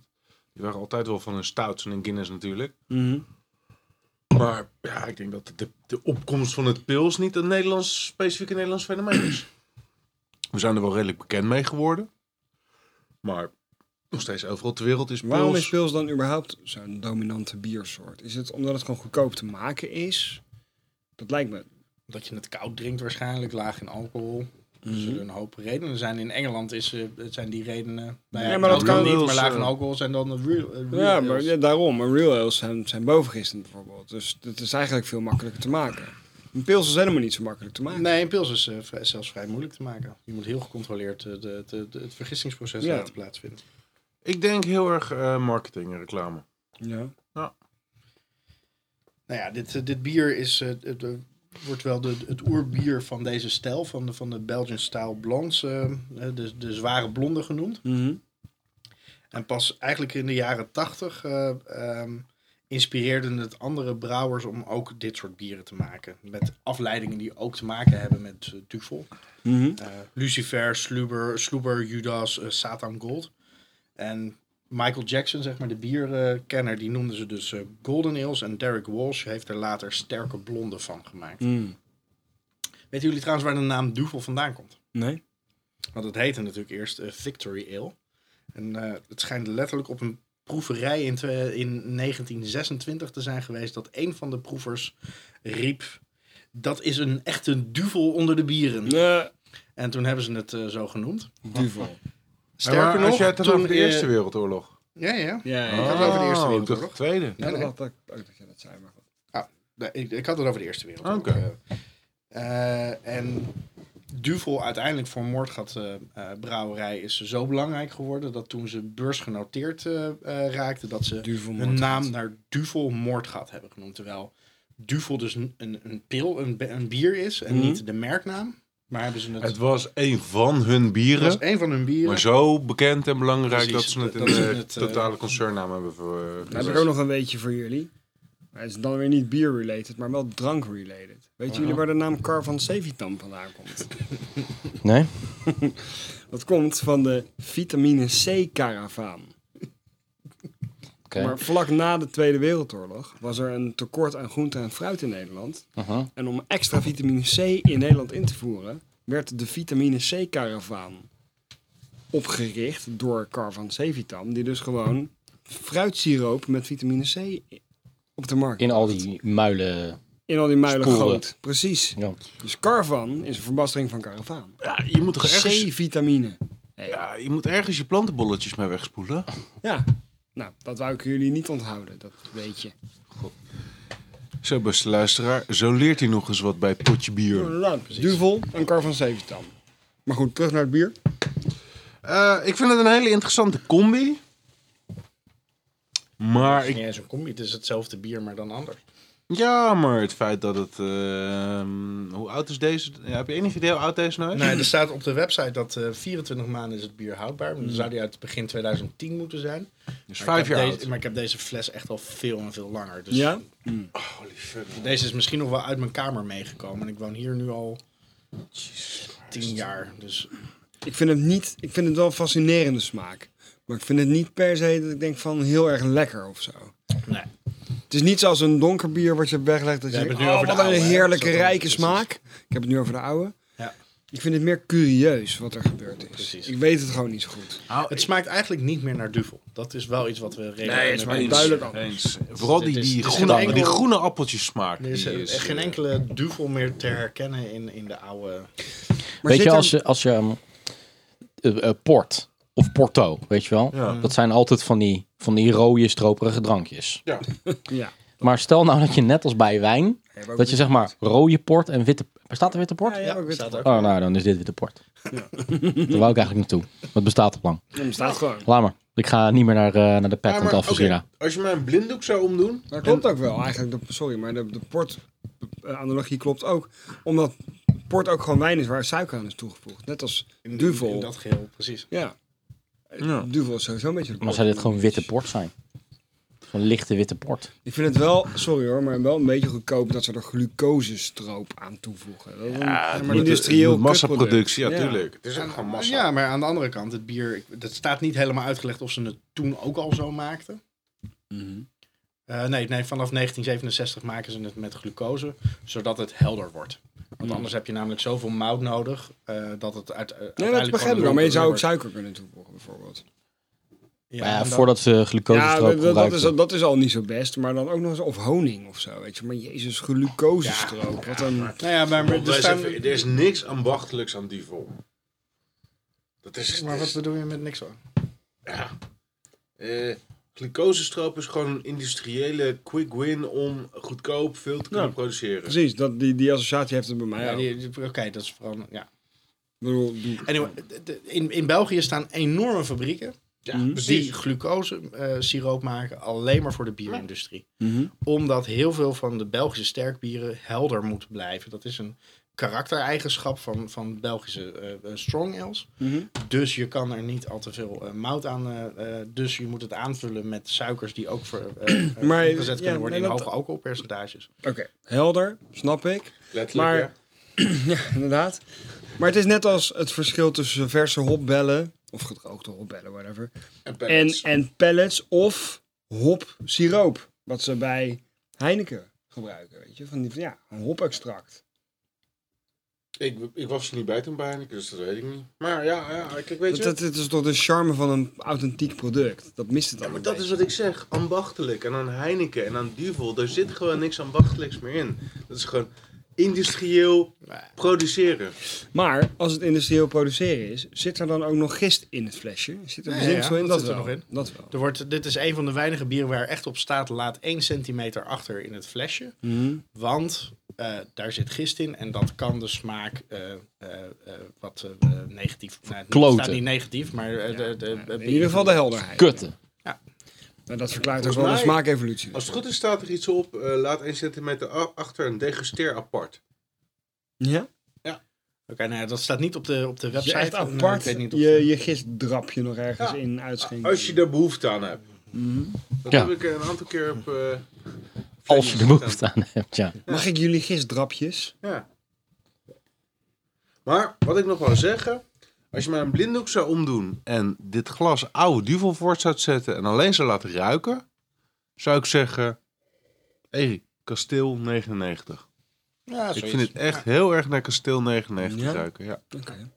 die waren altijd wel van een stouts en een Guinness natuurlijk.
Mhm.
Maar ja, ik denk dat de, de opkomst van het pils niet een Nederlands,
eh,
specifiek een Nederlands fenomeen is. We zijn er wel redelijk bekend mee geworden. Maar
Nog steeds overal ter wereld is
Waarom
pils.
is pils dan überhaupt zo'n dominante biersoort? Is het omdat het gewoon goedkoop te maken is? Dat lijkt me.
Omdat je het koud drinkt waarschijnlijk, laag in alcohol. Er
Mhm.
zullen een hoop redenen zijn. In Engeland is, eh, het zijn die redenen... Nou
Ja, maar
koud
dat kan
wel
niet, maar laag in
zo.
ale zijn dan de real, eh, real
Ja, maar
ales.
ja, daarom. Maar real ales zijn, zijn bovengistend bijvoorbeeld. Dus het is eigenlijk veel makkelijker te maken. Een pils is helemaal niet zo makkelijk te maken.
Nee, een pils is eh, vrij- zelfs vrij moeilijk te maken. Je moet heel gecontroleerd eh, de, de, de- het vergissingsproces
Ja.
laten plaatsvinden.
Ik denk heel erg eh, marketing en reclame.
Ja.
Nou ja, dit, eh, dit bier is, eh, het, eh, wordt wel de, het oerbier van deze stijl, van de, van de Belgian style blondes, eh, eh, de, de zware blonde genoemd. En pas eigenlijk in de jaren tachtig eh, ehm, inspireerden het andere brouwers om ook dit soort bieren te maken. Met afleidingen die ook te maken hebben met eh, Duvel.
Mhm.
Eh, Lucifer, Sluber, Sluber Judas, eh, Satan Gold. En Michael Jackson, zeg maar, de bierkenner, die noemden ze dus eh, Golden Ales. En Derek Walsh heeft er later sterke blonde van gemaakt.
Mhm.
Weten jullie trouwens waar de naam Duvel vandaan komt?
Nee.
Want het heette natuurlijk eerst eh, Victory Ale. En eh, het schijnt letterlijk op een proeverij in, twe- in 1926 te zijn geweest dat een van de proevers riep: Dat is een echte duvel onder de bieren. En toen hebben ze het eh, zo genoemd.
Duvel.
Sterker
maar
nog,
als jij het dan
toen,
over de Eerste
eh,
Wereldoorlog.
Ja, ja.
Ja, ja.
Ik had het over de Eerste
Oh, ik dacht
Wereldoorlog.
de Tweede.
Ja,
Nee,
dat
nee.
had ik ook dat je dat zei. Maar goed.
Nee, ik, ik had het over de Eerste Wereldoorlog.
Oké.
Eh, eh, en Duvel uiteindelijk voor Moordgat eh, eh, Brouwerij is zo belangrijk geworden dat toen ze beursgenoteerd eh eh, raakten, dat ze
Duvel
hun naam naar Duvel Moordgat hebben genoemd. Terwijl Duvel dus een, een, een pil, een, be- een bier is en niet de merknaam. Maar hebben ze het,
Mhm. Het was een van hun bieren.
was een van hun bieren.
Maar zo bekend en belangrijk
Precies,
dat ze het in
dat ze
de
het, eh,
totale concernnaam hebben eh, ver-
Dan heb ik
gezet.
ook nog een weetje voor jullie. Maar Het is dan weer niet bier-related, maar wel drank-related. Weten jullie waar de naam Car van Sevitan vandaan komt?
Nee?
Dat komt van de vitamine C-karavaan.
Oké.
Maar vlak na de Tweede Wereldoorlog was er een tekort aan groente en fruit in Nederland.
Aha.
En om extra vitamine C in Nederland in te voeren, werd de vitamine C-karavaan opgericht door Car van Sevitam, die dus gewoon fruitsiroop met vitamine C op de markt.
In al die muilen.
in al die muilen
sporen.
groot. Precies.
Ja.
Dus carvan is een verbastering van karavaan.
Ja, je moet toch ergens...
C-vitamine.
Ja, je moet ergens je plantenbolletjes mee wegspoelen.
Ja. Nou, dat wou ik jullie niet onthouden, dat weet je.
Zo, beste luisteraar, zo leert hij nog eens wat bij potje bier.
Duvel en Car van Sevitam. Maar goed, terug naar het bier.
Eh, ik vind het een hele interessante combi. Maar
Het is
ik,
niet eens een combi, het is hetzelfde bier, maar dan anders.
ja, maar het feit dat het... ehm, hoe oud is deze? Ja, heb je enig idee hoe oud deze nou is?
Nee, er staat op de website dat eh, 24 maanden is het bier houdbaar.
Hmm.
Dan zou die uit begin 2010 moeten zijn.
Dus
Maar ik
vijf
heb
jaar
deze-
oud.
Maar ik heb deze fles echt al veel en veel langer. Dus
Ja? Oh,
deze is misschien nog wel uit mijn kamer meegekomen. En ik woon hier nu al 10 jaar. Dus
Ik vind het niet, ik vind het wel een fascinerende smaak. Maar ik vind het niet per se dat ik denk van heel erg lekker of zo.
nee.
Het is niet zoals een donker bier wat je weglegt. Dat
We
je
hebben
denkt,
het nu
oh,
over de
wat een
oude, hè?
heerlijke
Zo dan,
rijke
precies.
smaak. Ik heb het nu over de oude.
Ja.
Ik vind het meer curieus wat er gebeurd is.
Precies.
Ik weet het gewoon niet zo goed.
Het smaakt eigenlijk niet meer naar duvel. Dat is wel iets wat we redelijk...
niet
duidelijk
duidelijk anders.
Eens. Vooral die,
Dit is-
die,
dit is
groene,
geen
die
enkel-
groene appeltjesmaak.
Er is,
die
eh,
is,
geen
eh,
enkele duvel meer te herkennen in, in de oude...
Maar
weet
zit
je,
er-
als, je- als je... ehm, eh, eh, port of porto, weet je wel?
Ja.
Dat zijn altijd van die, van die rode, stroperige drankjes.
Ja.
Ja.
Maar stel nou dat je net als bij wijn... Dat je zeg maar rode port en witte... Bestaat er witte port?
Ja, ja, maar ik weet
staat
het Ah,
er.
Oh, nou, dan is dit witte port. Daar wou ik eigenlijk naartoe. Want het bestaat al lang.
Het staat gewoon.
Laat maar. Ik ga niet meer naar, eh, naar de pet
Ja,
want
maar,
af is hier
oké,
na.
Als je mijn blinddoek zou omdoen...
Dat klopt ook wel eigenlijk. De- sorry, maar de, de port-analogie klopt ook. Omdat port ook gewoon wijn is waar suiker aan is toegevoegd. Net als
In, in-
duvel.
In dat geheel, precies.
Ja.
Ja.
Duvel is sowieso een beetje... de
Maar zou dit
port-
gewoon witte port zijn? Zo'n lichte witte port.
Ik vind het wel, sorry hoor, maar wel een beetje goedkoop dat ze er glucosestroop aan toevoegen. Dat is een-
het
maar
moet-
industrieel
het moet massaproductie, ja, Dus
kutproduct. Ja.
tuurlijk. Het is ook gewoon massa.
Ja, maar aan de andere kant, het bier... ik- Dat staat niet helemaal uitgelegd of ze het toen ook al zo maakten.
Mhm.
Eh, nee, nee, vanaf 1967 maken ze het met glucose, zodat het helder wordt. Want anders heb je namelijk zoveel mout nodig eh, dat het uit, eh,
Nee, Mhm. dat
uiteindelijk
begrijp ik
gewoon
wel. Maar je
een
zou ook
donker
suiker kunnen toevoegen bijvoorbeeld.
Ja,
maar ja,
en dan-
voordat ze
Ja,
glucosestroop
dat, dat- dat,
gebruikten.
is, al- dat is al niet zo best. Maar dan ook nog eens, of honing of zo, weet je. Maar jezus, glucosestroop. wat een...
Nou ja, maar, maar er
Er is,
staan-
even- er is niks ambachtelijks aan die vol. Dat is,
maar wat bedoel je met niks hoor?
eh, glucosestroop is gewoon een industriële quick win om goedkoop veel te kunnen
Ja.
produceren.
Precies, dat, die, die associatie heeft het bij mij
Ja,
ook.
die- die- Oké, dat is vooral. Ja.
Ik bedoel, die-
Anyway, de- de- in, in België staan enorme fabrieken
Ja,
Mhm.
die glucose eh, siroop maken alleen maar voor de bierindustrie.
Mhm.
Omdat heel veel van de Belgische sterkbieren helder moeten blijven. Dat is een karaktereigenschap van, van Belgische eh, eh, strong ales.
Mhm.
Dus je kan er niet al te veel eh, mout aan. eh, eh, dus je moet het aanvullen met suikers die ook voor, eh, eh,
Maar,
omgezet
ja,
kunnen worden
nee,
in
dat-
hoge alcoholpercentages.
Oké, helder, snap ik.
letterlijk.
Maar,
ja.
ja, inderdaad. Maar het is net als het verschil tussen verse hopbellen, of gedroogde hopbellen, whatever,
En
en,
pellets.
en pellets of hopsiroop, wat ze bij Heineken gebruiken, weet je. Van die, van, ja, een hopextract.
Ik, ik was er niet bij toen bij Heineken, dus dat weet ik niet. Maar ja, ja kijk, weet
Dat,
je...
dat, dat is toch de charme van een authentiek product. Dat mist het
Ja,
dan
maar
een
dat is
beetje.
wat ik zeg. Ambachtelijk. En aan Heineken en aan Duvel. Daar zit gewoon niks ambachtelijks meer in. Dat is gewoon industrieel produceren.
Maar als het industrieel produceren is, zit er dan ook nog gist in het flesje? Zit er
Ja,
bezinksel
ja,
in?
dat
Dat,
zit er
wel.
nog in.
Dat wel.
Er wordt, dit is een van de weinige bieren waar echt op staat laat 1 centimeter achter in het flesje. Want eh, daar zit gist in en dat kan de smaak eh, eh, eh, wat eh, eh, negatief... Nou, het
Kloten.
staat niet negatief, maar... eh, de, de,
In ieder geval de helderheid.
Kutten.
Nou, dat verklaart ook
Volgens
wel de
mij-
smaakevolutie.
Als het goed is staat er iets op. eh, laat 1 centimeter a- achter en degusteer apart.
Ja?
Oké, nou ja, dat staat niet op de, op de
Je
website.
echt
Nou, ik
apart
weet niet of-
je, je gistdrap je nog ergens
Ja.
in uitschenken.
Als je daar behoefte aan hebt.
Mm.
Dat
Ja.
heb ik een aantal keer op... eh,
Als je de
Facebook
behoefte aan hebt, ja.
Mag ik jullie gistdrapjes?
Ja. Maar wat ik nog wou zeggen. Als je maar een blinddoek zou omdoen en dit glas oude duvel voort zou zetten en alleen zou laten ruiken, zou ik zeggen: Hé, hey, kasteel 99.
Ja,
ik vind het echt heel erg naar kasteel 99
Ja?
ruiken. Ja.
Oké.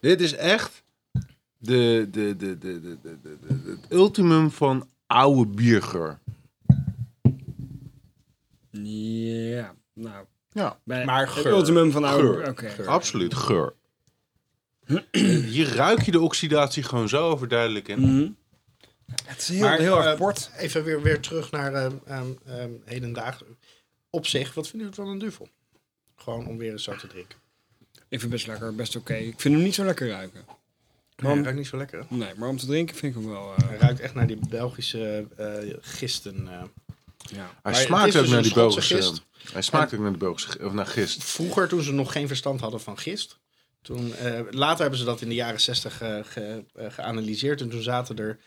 Dit is echt de, de, de, de, de, de, de, de- de- het ultimum van oude biergeur.
Ja, nou.
Ja,
Bij
maar
het
geur.
ultimum van oude...
Geur.
Oké.
Absoluut geur. Hier ruik je de oxidatie gewoon zo overduidelijk in.
Mhm. Het is heel,
Maar,
heel erg
eh,
kort.
Even weer, weer terug naar ehm ehm ehm hedendaags. Op zich, wat vinden jullie van een duvel? Gewoon om weer eens zo te drinken.
Ik vind het best lekker, best oké. Ik vind hem niet zo lekker ruiken.
Maar
om-
ruikt niet zo lekker. hè?
Nee, maar om te drinken vind ik hem wel... eh,
Hij ruikt echt naar die Belgische eh, gisten. eh.
ja.
Hij
Maar het
smaakt
is
ook
dus
naar
een
die
Schotse
Belgische.
gist.
Hij smaakt ook naar de Belgische g- of naar gist.
Vroeger, toen ze nog geen verstand hadden van gist. Toen, eh, later hebben ze dat in de jaren zestig eh, geanalyseerd. En toen zaten er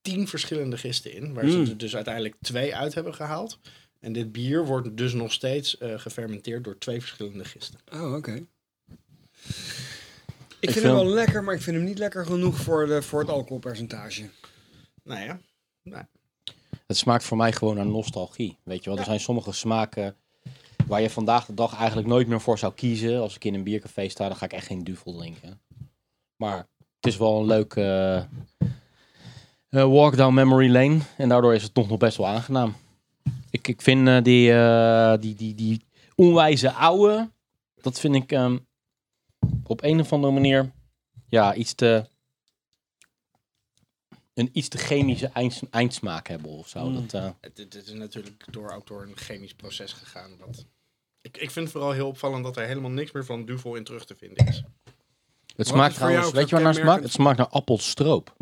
tien verschillende gisten in. Waar
Hmm.
Mm.
ze er dus uiteindelijk twee uit hebben gehaald. En dit bier wordt dus nog steeds eh, gefermenteerd door twee verschillende gisten.
Oh, oké. Ik
Ik
vind hem
vind-
wel lekker, maar ik vind hem niet lekker genoeg voor, de, voor het alcoholpercentage.
Nou ja.
Het smaakt voor mij gewoon naar nostalgie. Weet je wel, er zijn sommige smaken waar je vandaag de dag eigenlijk nooit meer voor zou kiezen. Als ik in een biercafé sta, dan ga ik echt geen duvel drinken. Maar het is wel een leuke eh, eh, walk down memory lane. En daardoor is het toch nog best wel aangenaam. Ik, ik vind eh, die, eh, die, die, die onwijze ouwe, dat vind ik ehm, op een of andere manier ja, iets te... Een iets te chemische einds- eindsmaak hebben of zo. Dat, eh,
Het, het is natuurlijk door, ook door een chemisch proces gegaan. Wat... Ik, ik vind het vooral heel opvallend dat er helemaal niks meer van duvel in terug te vinden is.
Het smaakt
Wat is voor jou
trouwens,
ook
weet je
zo
waar naar smaakt?
kenmerkend?
Het smaakt naar appelstroop.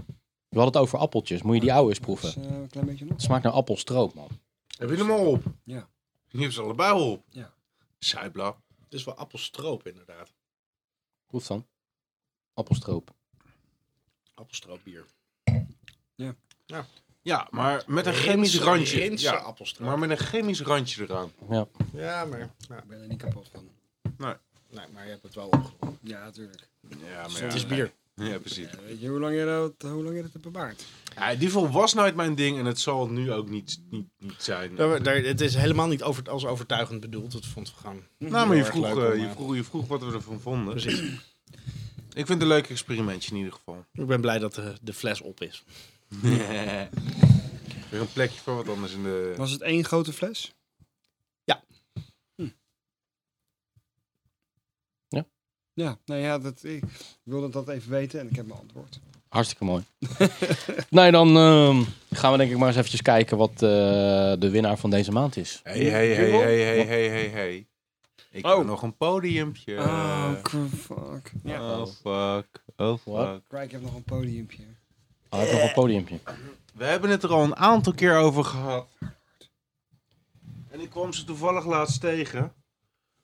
We hadden het over appeltjes, moet je die oude eens proeven.
Dat is, eh, een klein beetje nog.
Het smaakt naar appelstroop, man.
Heb je hem al op?
Ja.
Je hebt ze allebei al op.
Ja.
Zuiblap.
Het is wel appelstroop inderdaad.
Proef dan. Appelstroop.
Appelstroopbier.
Ja, maar met een chemisch
Rinse-
randje.
rinse
Ja,
appelstroop.
maar met een chemisch randje eraan.
Ja, maar, nou,
Ik ben er niet kapot van.
nee, maar je hebt het wel opgelopen.
Ja, natuurlijk.
Ja, maar
Het is bier.
Ja, precies.
Eh, Weet je hoe lang je dat, hoe lang je dat hebt bewaard?
Ja, Duvel was nooit mijn ding en het zal het nu ook niet, niet, niet zijn.
Daar, daar- het is helemaal niet over, als overtuigend bedoeld. Het vond ik gewoon.
Nou, maar je
Hm, heel erg
vroeg,
leuk om,
eh, je,
eh,
vroeg, je vroeg wat we ervan vonden.
Precies.
Ik vind het een leuk experimentje in ieder geval.
Ik ben blij dat de, de fles op is.
Weer een plekje voor wat anders in de...
Was het één grote fles?
Ja.
Hm.
Ja?
Ja, nou ja, dat, ik wilde dat even weten en ik heb mijn antwoord.
Hartstikke mooi. nee, dan ehm, gaan we denk ik maar eens eventjes kijken wat eh, de winnaar van deze maand is.
Hey, hey, hey, hey, hey, hey, hey, hey. Ik
Oh.
wil nog een podiumpje.
Oh, cr- fuck. Ja.
Oh, fuck. Oh,
Wat?
fuck.
Kijk, ik heb nog een podiumpje.
Oh, ik heb nog een podiumpje.
We hebben het er al een aantal keer over gehad. En ik kwam ze toevallig laatst tegen.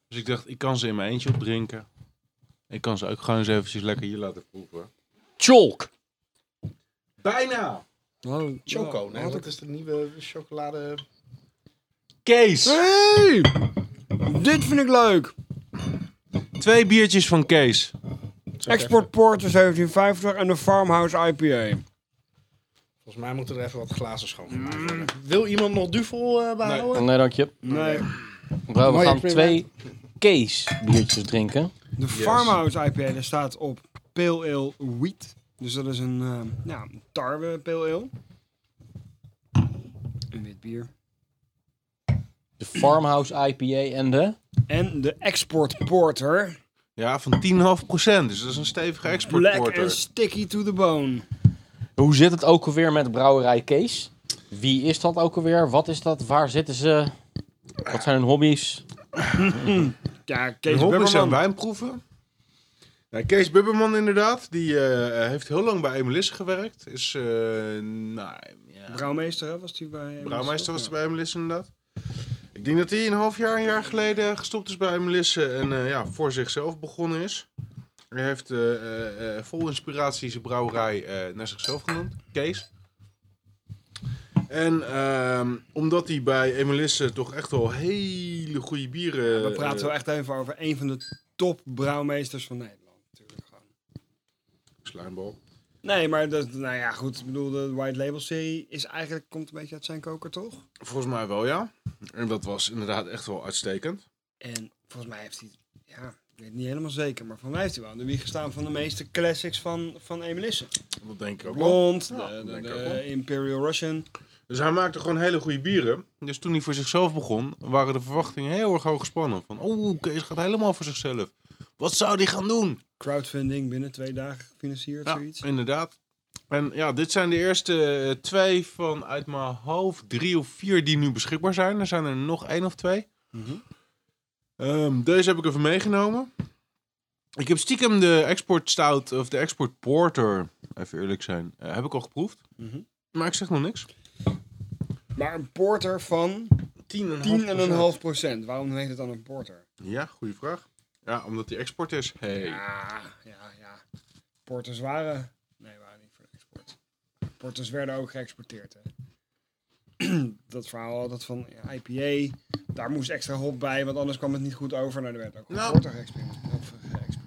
Dus ik dacht, ik kan ze in mijn eentje opdrinken. Ik kan ze ook gewoon eens eventjes lekker hier laten proeven.
Chalk!
Bijna!
Oh,
Choco, nee, dat is de nieuwe chocolade.
Kees!
Hey! Dit vind ik leuk.
Twee biertjes van Kees.
Export Porter 1750 en de Farmhouse IPA.
Volgens mij moeten er even wat glazen schoongemaakt worden. Wil iemand nog duvel eh, behouden?
Nee, dank je.
Nee,
Bro, we
Mooi
gaan
experiment.
twee Kees biertjes drinken.
de Farmhouse IPA daar staat op Pale Ale Wheat. Dus dat is een ehm, ja, een tarwe Pale Ale. Een wit bier.
De Farmhouse IPA en de...
En de Export Porter.
Ja, van 10,5 Dus dat is een stevige
Black and
exportporter.
sticky to the bone.
Hoe zit het ook alweer met brouwerij Kees? Wie is dat ook alweer? Wat is dat? Waar zitten ze? Wat zijn hun hobby's?
Ja,
En
Kees
hobby's en
Bubberman.
wijnproeven. Nou, Kees Bubberman inderdaad, die eh, heeft heel lang bij Emelisse gewerkt. Is, eh nou, ja,
Brouwmeester hè, was die bij...
Brouwmeester was er
bij.
bij Melisse inderdaad. Ik denk dat hij een half jaar, een jaar geleden gestopt is bij Melisse en eh, ja, voor zichzelf begonnen is. Hij heeft eh, eh, eh, vol inspiratie zijn brouwerij eh, naar zichzelf genoemd, Kees. En ehm, omdat hij bij Emelisse toch echt wel hele goede bieren...
We praten
eh,
wel echt even over een van de top brouwmeesters van Nederland. Natuurlijk gewoon.
Slijmbal.
Nee, maar dat, nou ja, goed. Ik bedoel, de White Label serie is eigenlijk, komt een beetje uit zijn koker, toch?
Volgens mij wel, ja. En dat was inderdaad echt wel uitstekend.
En volgens mij heeft hij, ja, ik weet het niet helemaal zeker, maar volgens mij heeft hij wel aan de wieg gestaan van de meeste classics van, van Emelisse.
Dat denk ik ook wel.
Blond,
Ja,
de,
dat
de-
denk ik
de
ook wel.
Imperial Russian.
Dus hij maakte gewoon hele goede bieren. Dus toen hij voor zichzelf begon, waren de verwachtingen heel erg hoog gespannen. Van, oeh, Kees gaat helemaal voor zichzelf. Wat zou die gaan doen?
Crowdfunding binnen twee dagen gefinancierd,
Ja,
zoiets.
inderdaad. En ja, dit zijn de eerste eh, twee van uit mijn hoofd drie of vier die nu beschikbaar zijn. Er zijn er nog één of twee.
Mhm.
Ehm, deze heb ik even meegenomen. Ik heb stiekem de export stout of de export porter, even eerlijk zijn, eh, heb ik al geproefd.
Mhm.
Maar ik zeg nog niks.
Maar een porter van 10,5 procent. Waarom heet het dan een porter?
Ja, goede vraag. Ja, omdat die export is. Hey.
Ja, Ah, ja, ja. Porters waren... Nee, waren niet voor de export. Porters werden ook geëxporteerd, hè. Dat verhaal altijd van ja, IPA, daar moest extra hop bij, want anders kwam het niet goed over. Nou, er werd ook een
Nou.
porter geëxporteerd. of geëxporteerd.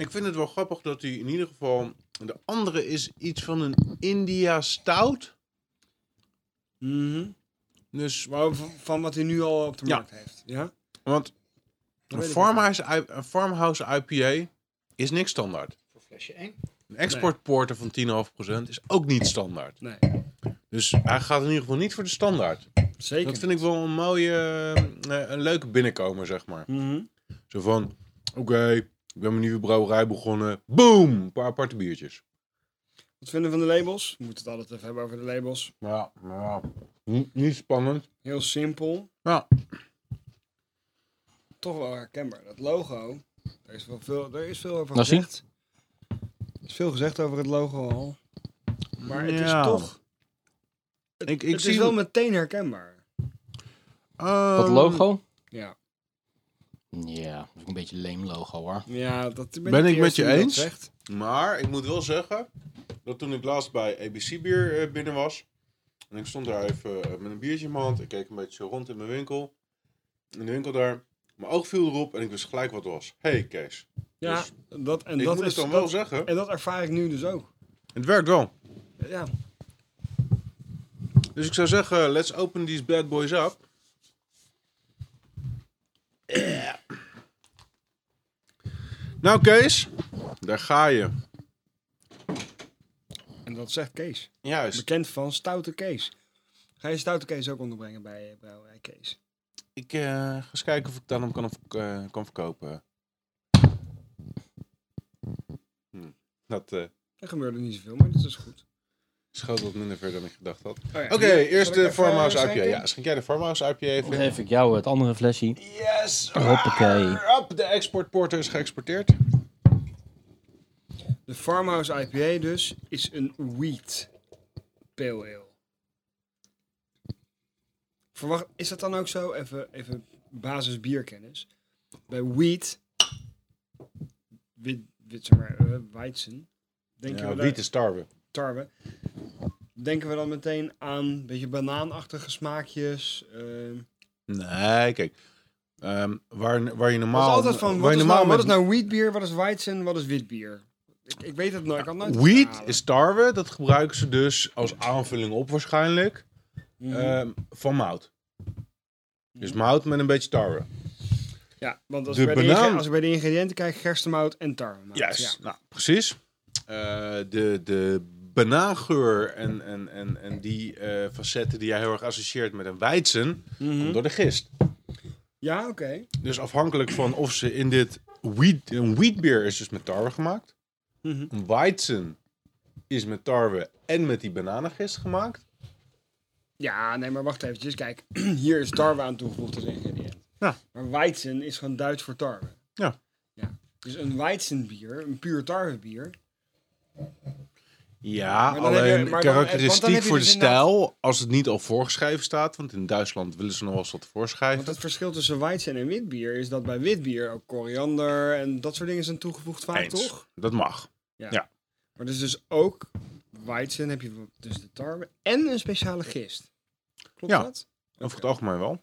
Ik vind het wel grappig dat hij in ieder geval... De andere is iets van een India stout.
Mhm.
Dus,
Maar van, van wat hij nu al op de
Ja.
markt heeft. Ja?
want
Dat
een
weet ik
farmhouse, I- een farmhouse IPA is niks standaard.
Voor flesje 1.
Een exportporter van 10,5% is ook niet standaard.
Nee,
Dus hij gaat in ieder geval niet voor de standaard.
zeker.
Dat vind ik wel een mooie, eh, een leuke binnenkomer, zeg maar.
Mhm.
Zo van, oké, ik ben mijn nieuwe brouwerij begonnen. Boom! Een paar aparte biertjes.
Wat vinden we van de labels? We moeten het altijd even hebben over de labels.
Ja, ja. Niet, niet spannend.
Heel simpel,
Ja.
toch wel herkenbaar. Dat logo, er is, wel veel, er is veel over
Nou, zie.
gezegd. Er is veel gezegd over het logo al. Maar het
Ja.
is toch, het,
Ik- ik
het is
zie-
wel meteen herkenbaar.
Dat
Ehm,
logo?
Ja,
Ja, dat is een beetje een leem logo hoor.
ja dat ben,
Ben
de
ik met
eerste
je
die dat
eens?
zegt.
Maar ik moet wel zeggen dat toen ik laatst bij ABC Bier eh, binnen was. En ik stond daar even eh, met een biertje in mijn hand. Ik keek een beetje zo rond in mijn winkel. In de winkel daar. Mijn oog viel erop en ik wist gelijk wat het was. hey Kees.
Ja,
Dus
dat, en,
ik
dat
moet
is,
het dan
dat-
wel zeggen.
en dat ervaar ik nu dus ook.
Het werkt wel.
Ja,
Dus ik zou zeggen, let's open these bad boys up. Eh. Nou Kees, daar ga je.
En dat zegt Kees.
Juist.
Bekend van Stoute Kees. Ga je Stoute Kees ook onderbrengen bij eh, Brouwerij Kees?
Ik eh, ga eens kijken of ik dan hem kan, verk- eh, kan verkopen. Hm. Dat eh
Er gebeurde niet zoveel, maar dat is goed.
schoot wat minder ver dan ik gedacht had. Oké,
Oké,
eerst de
eh,
Farmhouse IPA. Ja, schenk jij de Farmhouse IPA even
Dan
in?
geef ik jou het andere flesje.
Yes!
Hoppakee.
Hop, de exportporter is geëxporteerd.
De Farmhouse IPA dus is een wheat pale ale. Verwacht, is dat dan ook zo? Even, even basis bierkennis. Bij wheat, wit, wit zeg maar, eh, weizen, denken
Ja,
we
wiet
daar,
is tarwe.
tarwe, denken we dan meteen aan een beetje banaanachtige smaakjes. eh,
Nee, kijk. Ehm, waar, waar je
dat is
normaal...
altijd van,
Ah, waar
wat
je
is, nou,
met-
wat is nou wheatbier, wat is weizen, wat is witbier? Ik, ik weet het nooit, ik kan het nooit
Wheat
achterhalen.
is tarwe, dat gebruiken ze dus als aanvulling op waarschijnlijk,
Mhm.
ehm, van mout. Dus mout met een beetje tarwe.
Ja, want als,
De
ik, bij de inge-
banaan-
als ik bij de ingrediënten kijk, gerstemout en tarwemout.
Juist,
Ja.
nou, precies. Eh, de, de banaangeur en, en, en, en die eh, facetten die jij heel erg associeert met een weizen,
Mhm.
komt door de gist.
Ja, oké.
Dus afhankelijk van of ze in dit wheat, een wheatbeer is dus met tarwe gemaakt.
Mhm.
Een weizen is met tarwe en met die bananengist gemaakt.
Ja, nee, maar wacht eventjes. Kijk, hier is tarwe aan toegevoegd als ingrediënt.
Ja.
Maar weizen is gewoon Duits voor tarwe.
Ja.
ja. Dus een weizenbier, een puur tarwebier.
Ja,
Maar dan heb je-
alleen
maar dan- want dan heb
karakteristiek
je
voor de
dus
stijl, als het niet al voorgeschreven staat, want in Duitsland willen ze nog wel eens wat voorschrijven.
Want het verschil tussen weizen en witbier is dat bij witbier ook koriander en dat soort dingen zijn toegevoegd vaak,
Eens.
toch?
Dat mag.
Maar dus dus ook weizen heb je dus de tarwe en een speciale gist. Klopt
Ja.
dat?
Over het algemeen wel.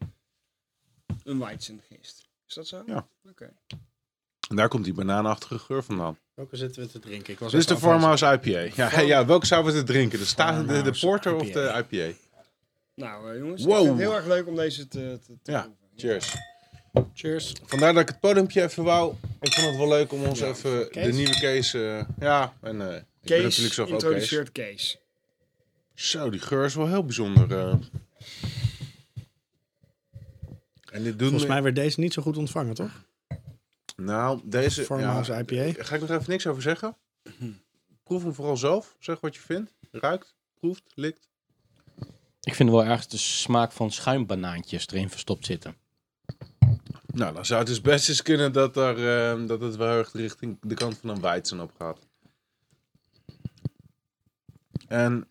Een weizengist. Is dat zo?
Ja.
Oké.
En daar komt die banaanachtige geur vandaan.
Welke zitten we te drinken? Ik was
Dit is de
even afwezig.
Farmhouse IPA. Ja, ja welke zouden we te drinken? De, sta- de, de
Farmhouse
porter of
IPA.
de IPA?
Nou eh, jongens,
Wow.
ik vind het heel erg leuk om deze te, te, te
Ja,
proeven.
cheers.
Cheers.
Vandaar dat ik het podiumpje even wou. Ik vond het wel leuk om ons even de
Kees?
nieuwe Kees... eh, ja, en eh, ik ben
Kees
natuurlijk zelf ook Kees.
introduceert Kees.
Zo, die geur is wel heel bijzonder. eh. En dit doet
Volgens
me-
mij werd deze niet zo goed ontvangen, toch?
Nou, deze...
Farmhouse
ja,
IPA.
Daar ga ik nog even niks over zeggen. Proef hem vooral zelf. Zeg wat je vindt. Ruikt, proeft, likt.
Ik vind wel ergens de smaak van schuimbanaantjes erin verstopt zitten.
Nou, dan zou het dus best eens kunnen dat, er, eh, dat het wel heel erg richting de kant van een weizen op gaat. En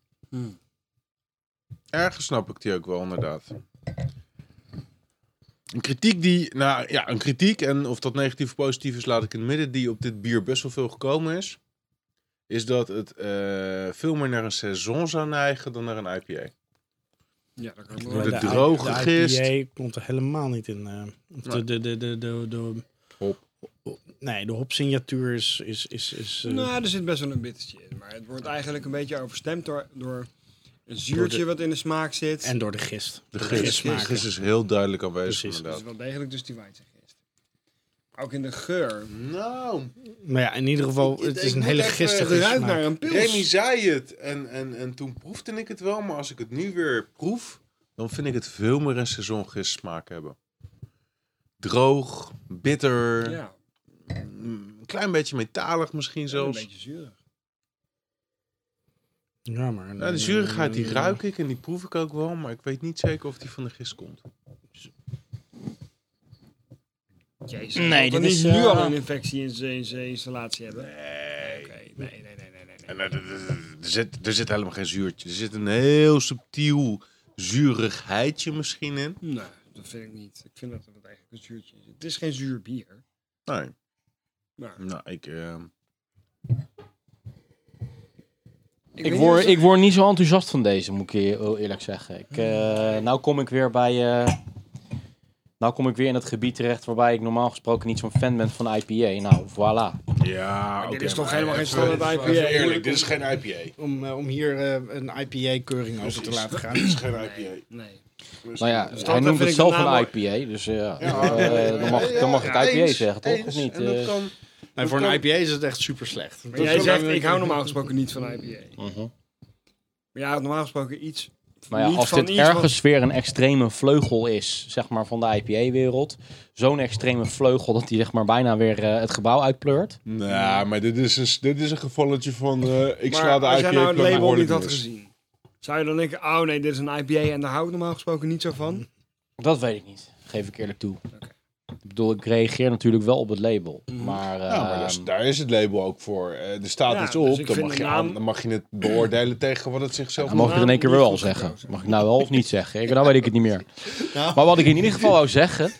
ergens snap ik die ook wel, inderdaad. Een kritiek die, nou ja, een kritiek, en of dat negatief of positief is, laat ik in het midden, die op dit bier best wel veel gekomen is, is dat het eh, veel meer naar een saison zou neigen dan naar een IPA.
Ja, dat kan
Door
wel. Nou,
de
I-
droge
de
gist.
IPA komt er helemaal niet in. eh, of de, de, de, de, de, de-
Hop.
Nee, de hopsignatuur is... is, is, is eh,
Nou, er zit best wel een bittertje in. Maar het wordt eigenlijk een beetje overstemd door, door een zuurtje wat in de smaak zit.
en door de gist.
De
Door
gist, de
smaken.
gist is heel duidelijk aanwezig,
Precies.
dat is
inderdaad.
wel degelijk dus die weizengist. Ook in de geur.
Nou,
Maar ja, in ieder geval,
Ik-
het
ik
is een
moet
hele
even
Het
gistige
ruikt naar
smaak.
een pils.
Remy zei het en, en, en toen proefde ik het wel, maar als ik het nu weer proef, dan vind ik het veel meer een seizoengist smaak hebben. Droog, bitter,
Ja,
mm, een klein beetje metalig misschien
een
zelfs.
beetje zuurig.
Ja, maar...
Ja, de zuurigheid die ruik ik en die proef ik ook wel, maar ik weet niet zeker of die van de gist komt.
Jezus,
Nee,
zal
dit
dan niet
is,
nu
eh,
al een infectie in zijn in zijn installatie hebben. Nee. nee, nee, nee, nee, nee.
En eh, er, er- er- er zit, er zit helemaal geen zuurtje. Er zit een heel subtiel zurigheidje misschien in.
Nee, Nou, dat vind ik niet. Ik vind dat er eigenlijk een zuurtje in zit. Het is geen zuur bier.
Nee,
Maar
nou, ik... eh,
Ik,
weet
word,
niet of-
ik word niet zo enthousiast van deze, moet ik je heel eerlijk zeggen. Ik, eh, nou kom ik weer bij... eh, nou kom ik weer in het gebied terecht waarbij ik normaal gesproken niet zo'n fan ben van IPA. Nou, voilà.
ja,
dit
oké,
is toch
maar
helemaal geen
even-
standaard
even
IPA?
Eerlijk, dit is geen IPA.
Om, eh, om hier eh, een IPA-keuring over te laten gaan.
is geen IPA.
Nee.
Nou ja,
Dus
hij
dat
noemt
vind
het
ik
zelf
de
een
naam-
IPA, dus eh, ja. eh, dan mag, ik- dan mag ik IPA zeggen, toch? Of niet? Eh,
Nee, voor een IPA is het echt super slecht.
Maar jij zegt, ik hou normaal gesproken niet van IPA.
mhm.
Maar ja, normaal gesproken iets.
Maar ja,
niet
als
van
dit
iets wat-
ergens weer een extreme vleugel is, zeg maar, van de IPA-wereld. Zo'n extreme vleugel dat die zeg maar bijna weer eh, het gebouw uitpleurt.
Nou, maar dit is een, dit is een gevalletje van eh, ik sla de
als
IPA
jij nou het
plug, maar
label
hoor
niet
het
had gezien, zou je dan denken, oh nee, dit is een IPA en daar hou ik normaal gesproken niet zo van?
Dat weet ik niet, geef ik eerlijk toe. Ik bedoel, ik reageer natuurlijk wel op het label. Maar, eh,
Ja, maar daar is- daar is het label ook voor. Eh, er staat
Ja,
iets
dus
op,
ik
dan,
vind
mag
de
je
naam-
aan- dan mag je het beoordelen tegen wat het zichzelf
dan mag ik het in één keer
Naam
weer
niet
wel
goed
zeggen. Mag ik nou wel of niet zeggen? Ik, nou weet ik het niet meer. Maar wat ik in ieder geval wou zeggen,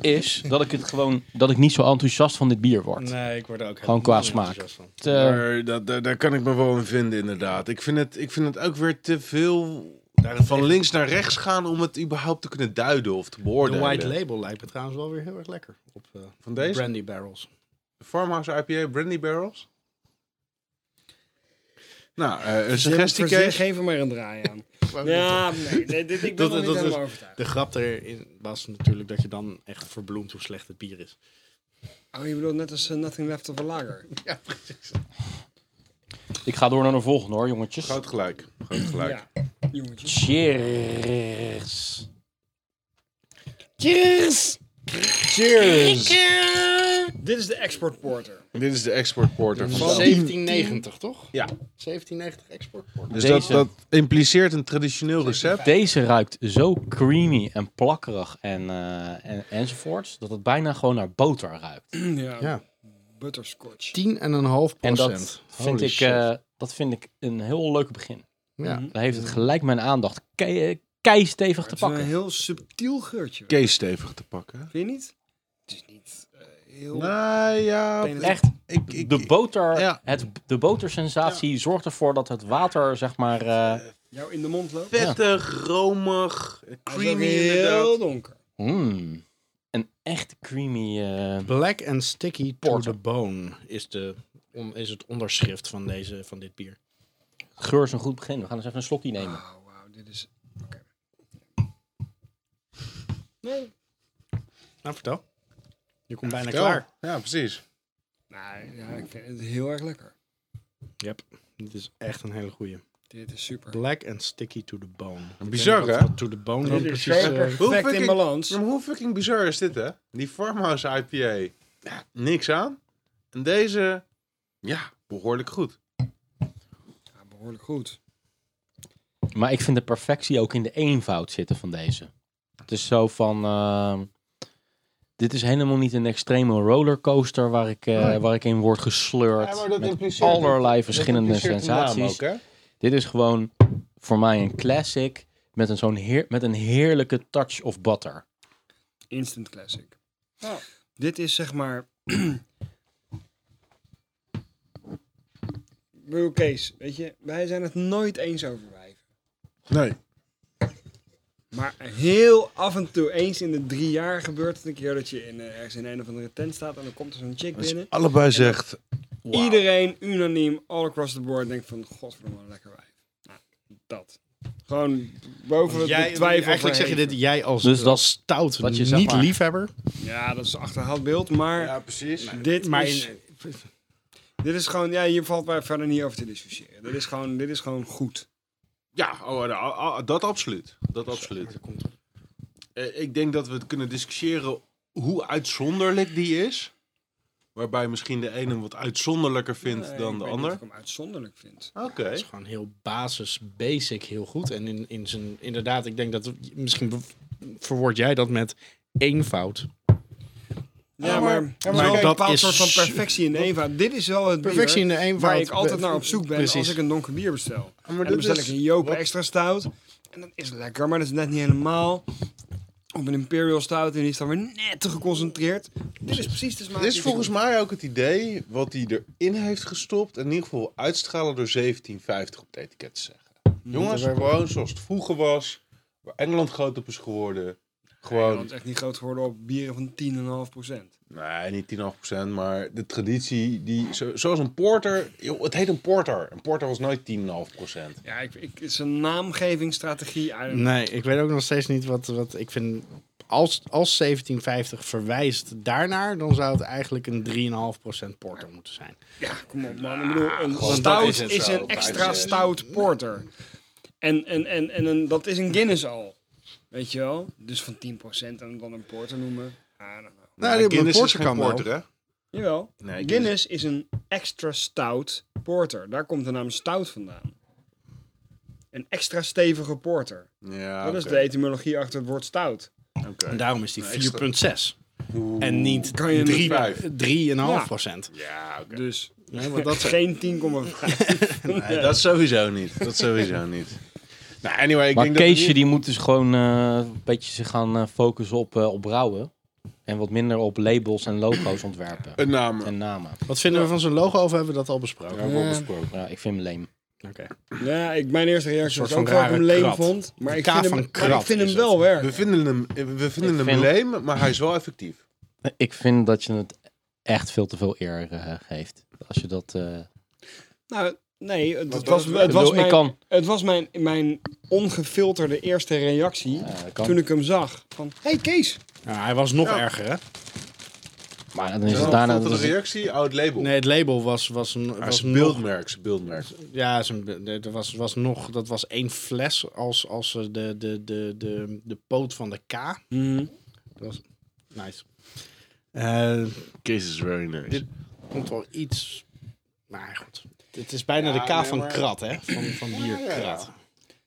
is dat ik het gewoon, dat ik niet zo enthousiast van dit bier word.
Nee, ik word er ook
Gewoon qua smaak. Het, eh,
Maar dat, daar, daar kan ik me wel in vinden, inderdaad. Ik vind het, ik vind het ook weer te veel van links naar rechts gaan om het überhaupt te kunnen duiden of te
De
beoordelen.
white label lijkt me trouwens wel weer heel erg lekker. Op eh,
Van deze?
brandy barrels.
Farmhouse IPA Brandy Barrels? Nou, eh, een
Suggestie
suggestie, Kees.
Geef er maar een draai aan. ja, nee, nee, dit, ik ben
Dat-
nog niet
dat is-
helemaal overtuigd.
De grap erin was natuurlijk dat je dan echt verbloemt hoe slecht het bier is.
Oh, je bedoelt net als eh, Nothing Left of a Lager.
Ik ga door naar de volgende hoor, jongetjes.
Groot gelijk. Groot gelijk.
Ja, jongetjes.
Cheers.
Cheers!
Dit is de export porter.
Dit is de export porter van
Van-
Stout.
1790, toch?
Ja.
1790 export.
Dus dat,
Deze.
dat impliceert een traditioneel recept.
Deze ruikt zo creamy en plakkerig en, eh, en, enzovoorts, dat het bijna gewoon naar boter ruikt.
ja.
Ja.
Butterscotch.
10,5
En dat
procent.
vind, ik, eh, mm-hmm. dat vind ik een heel leuk begin.
ja.
Dan heeft het gelijk mijn aandacht kei, keistevig te
Het is een
pakken.
heel subtiel geurtje.
Kees stevig te pakken.
Vind je niet? Het is niet eh, heel...
Nou ja,
Penetrant.
Echt,
ik, ik,
de boter,
Ja.
het, de botersensatie zorgt ervoor dat het water, zeg maar... eh,
jou in de mond loopt.
vettig, romig,
Hij is ook
creamy
heel
inderdaad.
donker.
eh,
mm, een echt creamy... eh,
Black and sticky
Porter.
to the bone is, de, on- is het onderschrift van, deze, van dit bier.
geur is een goed begin. We gaan eens even een slokje nemen.
Oh, wauw, dit is... Oké. Nee.
Nou, vertel. Je komt bijna
Ja,
klaar.
Ja, precies.
Nee, nou, ja, ik vind het heel erg lekker.
Yep. Dit is echt een hele goeie.
Dit is super.
Black and sticky to the bone.
Bizar,
Ik weet niet
hè?
wat- wat To the bone dan
Dit is
precies...
zo
eh,
Hoe
perfect in
fucking- Ja,
balans.
maar hoe fucking bizar is dit, hè? Die Farmhouse IPA, ja, niks aan. En deze, ja, behoorlijk goed.
Ja, behoorlijk goed.
Maar ik vind de perfectie ook in de eenvoud zitten van deze. Het is zo van. ehm, dit is helemaal niet een extreme rollercoaster waar ik, eh, waar ik in word gesleurd. met allerlei verschillende sensaties. Dit is gewoon voor mij een classic met een, zo'n heer, met een heerlijke touch of butter.
Instant classic. Dit is zeg maar... Ik bedoel, Kees, weet je, wij zijn het nooit eens over wijven.
Nee.
Maar heel af en toe, eens in de drie jaar gebeurt het een keer dat je in, eh, ergens in een of andere tent staat en dan komt er zo'n chick binnen.
Allebei zegt,
Iedereen unaniem, all across the board, denkt van, godverdomme, wat een lekker wijf. Nou, dat. Gewoon boven de
Jij,
twijfel
eigenlijk zeg je
verheven.
dit, jij als,
Dus
dus
dat-
als stout
dat je zeg
niet
maar-
liefhebber.
Ja, dat is een achterhaald beeld, maar
ja, precies.
Nou, dit,
Maar
is, dit is gewoon, ja, hier valt mij verder niet over te discussiëren. Dit is gewoon, dit is gewoon goed.
Ja, oh, nou, ah, ah, dat absoluut. Dat absoluut. Eh, ik denk dat we het kunnen discussiëren hoe uitzonderlijk die is. Waarbij misschien de ene hem wat uitzonderlijker vindt
Nee,
dan
ik
de
weet
ander.
niet of ik hem uitzonderlijk vind.
Oké.
Het is gewoon heel basis, basic, heel goed. En in, in zijn, inderdaad, ik denk dat, misschien bev- verwoord jij dat met eenvoud.
Ja, maar,
maar
maar,
kijk,
een bepaald
dat is-
soort van perfectie in de eenvoud. Dit is wel het bier
Perfectie in de eenvoud.
waar ik altijd naar op zoek ben als
Precies.
ik een donker bier bestel.
Maar
En
dit
dan bestel
is-
ik een Joop
wat-
extra stout. En dat is lekker, maar dat is net niet helemaal. Of een Imperial stout en die is dan weer net te geconcentreerd. Dit is precies de smaak.
Dit is
die
volgens
ik-
mij ook het idee wat hij erin heeft gestopt. En in ieder geval uitstralen door 1750 op het etiket te zeggen. Jongens, gewoon zoals het vroeger was. Waar Engeland groot op is geworden.
Nederland
Gewoon,
is echt niet groot geworden op bieren van 10,5 procent.
nee, niet 10,5%, maar de traditie die... zo- zoals een porter, joh, het heet een porter. Een porter was nooit 10,5%.
Ja, ik, ik, het is een naamgevingsstrategie. I don't know.
Nee, ik weet ook nog steeds niet wat, wat ik vind. Als, als 1750 verwijst daarnaar, dan zou het eigenlijk een 3,5% porter moeten zijn.
Ja, kom op man. Ik bedoel, een
Gewoon, dat
stout
is
is,
het zo,
een extra
bijna.
stout porter. En, en, en, en een, dat is een Guinness al. Weet je wel? Dus van 10% en dan een porter noemen. Ah, nou, nou.
Nou, die
Guinness is
porter
geen
kan wel.
porter, hè?
Jawel.
Nee,
Guinness is een extra stout porter. Daar komt de naam stout vandaan. Een extra stevige porter.
Ja,
Dat is
Ah, oké.
de etymologie achter het woord stout.
Oké.
En daarom is die
Nee, extra.
4,6. En niet 3,5
Kan je
Drie vijf.
niet Ja.
procent.
Ja, oké.
Dus
Nee, want dat zijn-
geen 10,5.
Nee, dat sowieso niet. Dat sowieso niet. Nou, anyway, ik
maar
denk dat we
Keesje,
niet-
die moet dus gewoon eh, een beetje zich gaan eh, focussen op, eh, op brouwen. En wat minder op labels en logo's ontwerpen.
Een naam.
En namen.
Wat vinden we van zijn logo of hebben we dat al besproken?
Daar hebben we besproken. Ja, ik vind hem leem.
Nou Ja, ik, mijn eerste reactie
Een
was
soort
ook
van
wel dat ik hem
rare
leem
krat.
vond. Maar
Een
ik
kaaf
vind
van
hem, maar ik
krat
vind hem
is
wel werk.
We vinden hem, we vinden hem
vind-
leem, maar hij is wel effectief.
Ik vind dat je het echt veel te veel eer eh, geeft. Als je dat... eh,
Nou, nee, het,
Wat
was,
was-
ik
het
bedoel,
was,
ik
mijn,
kan...
het was mijn, mijn ongefilterde eerste reactie
Ja, dat kan.
toen ik hem zag. Van, hey Kees.
Ja, hij was nog
Ja.
erger, hè?
Maar dan is
Is
het daarna...
de
dus-
reactie? Oud label.
Nee, het label was, was een.
Maar
Was
zijn
nog,
beeldmerk, zijn beeldmerk.
ja, zijn, be- nee, dat, was, was nog, dat was één fles als, als eh, de, de, de, de, de poot van de K.
Mm.
Nice. Eh,
Kees is very nice.
Dit- komt wel iets. Maar goed. Het is bijna
Ja,
de K
nee,
van
maar-
krat, hè? Van, van bier krat.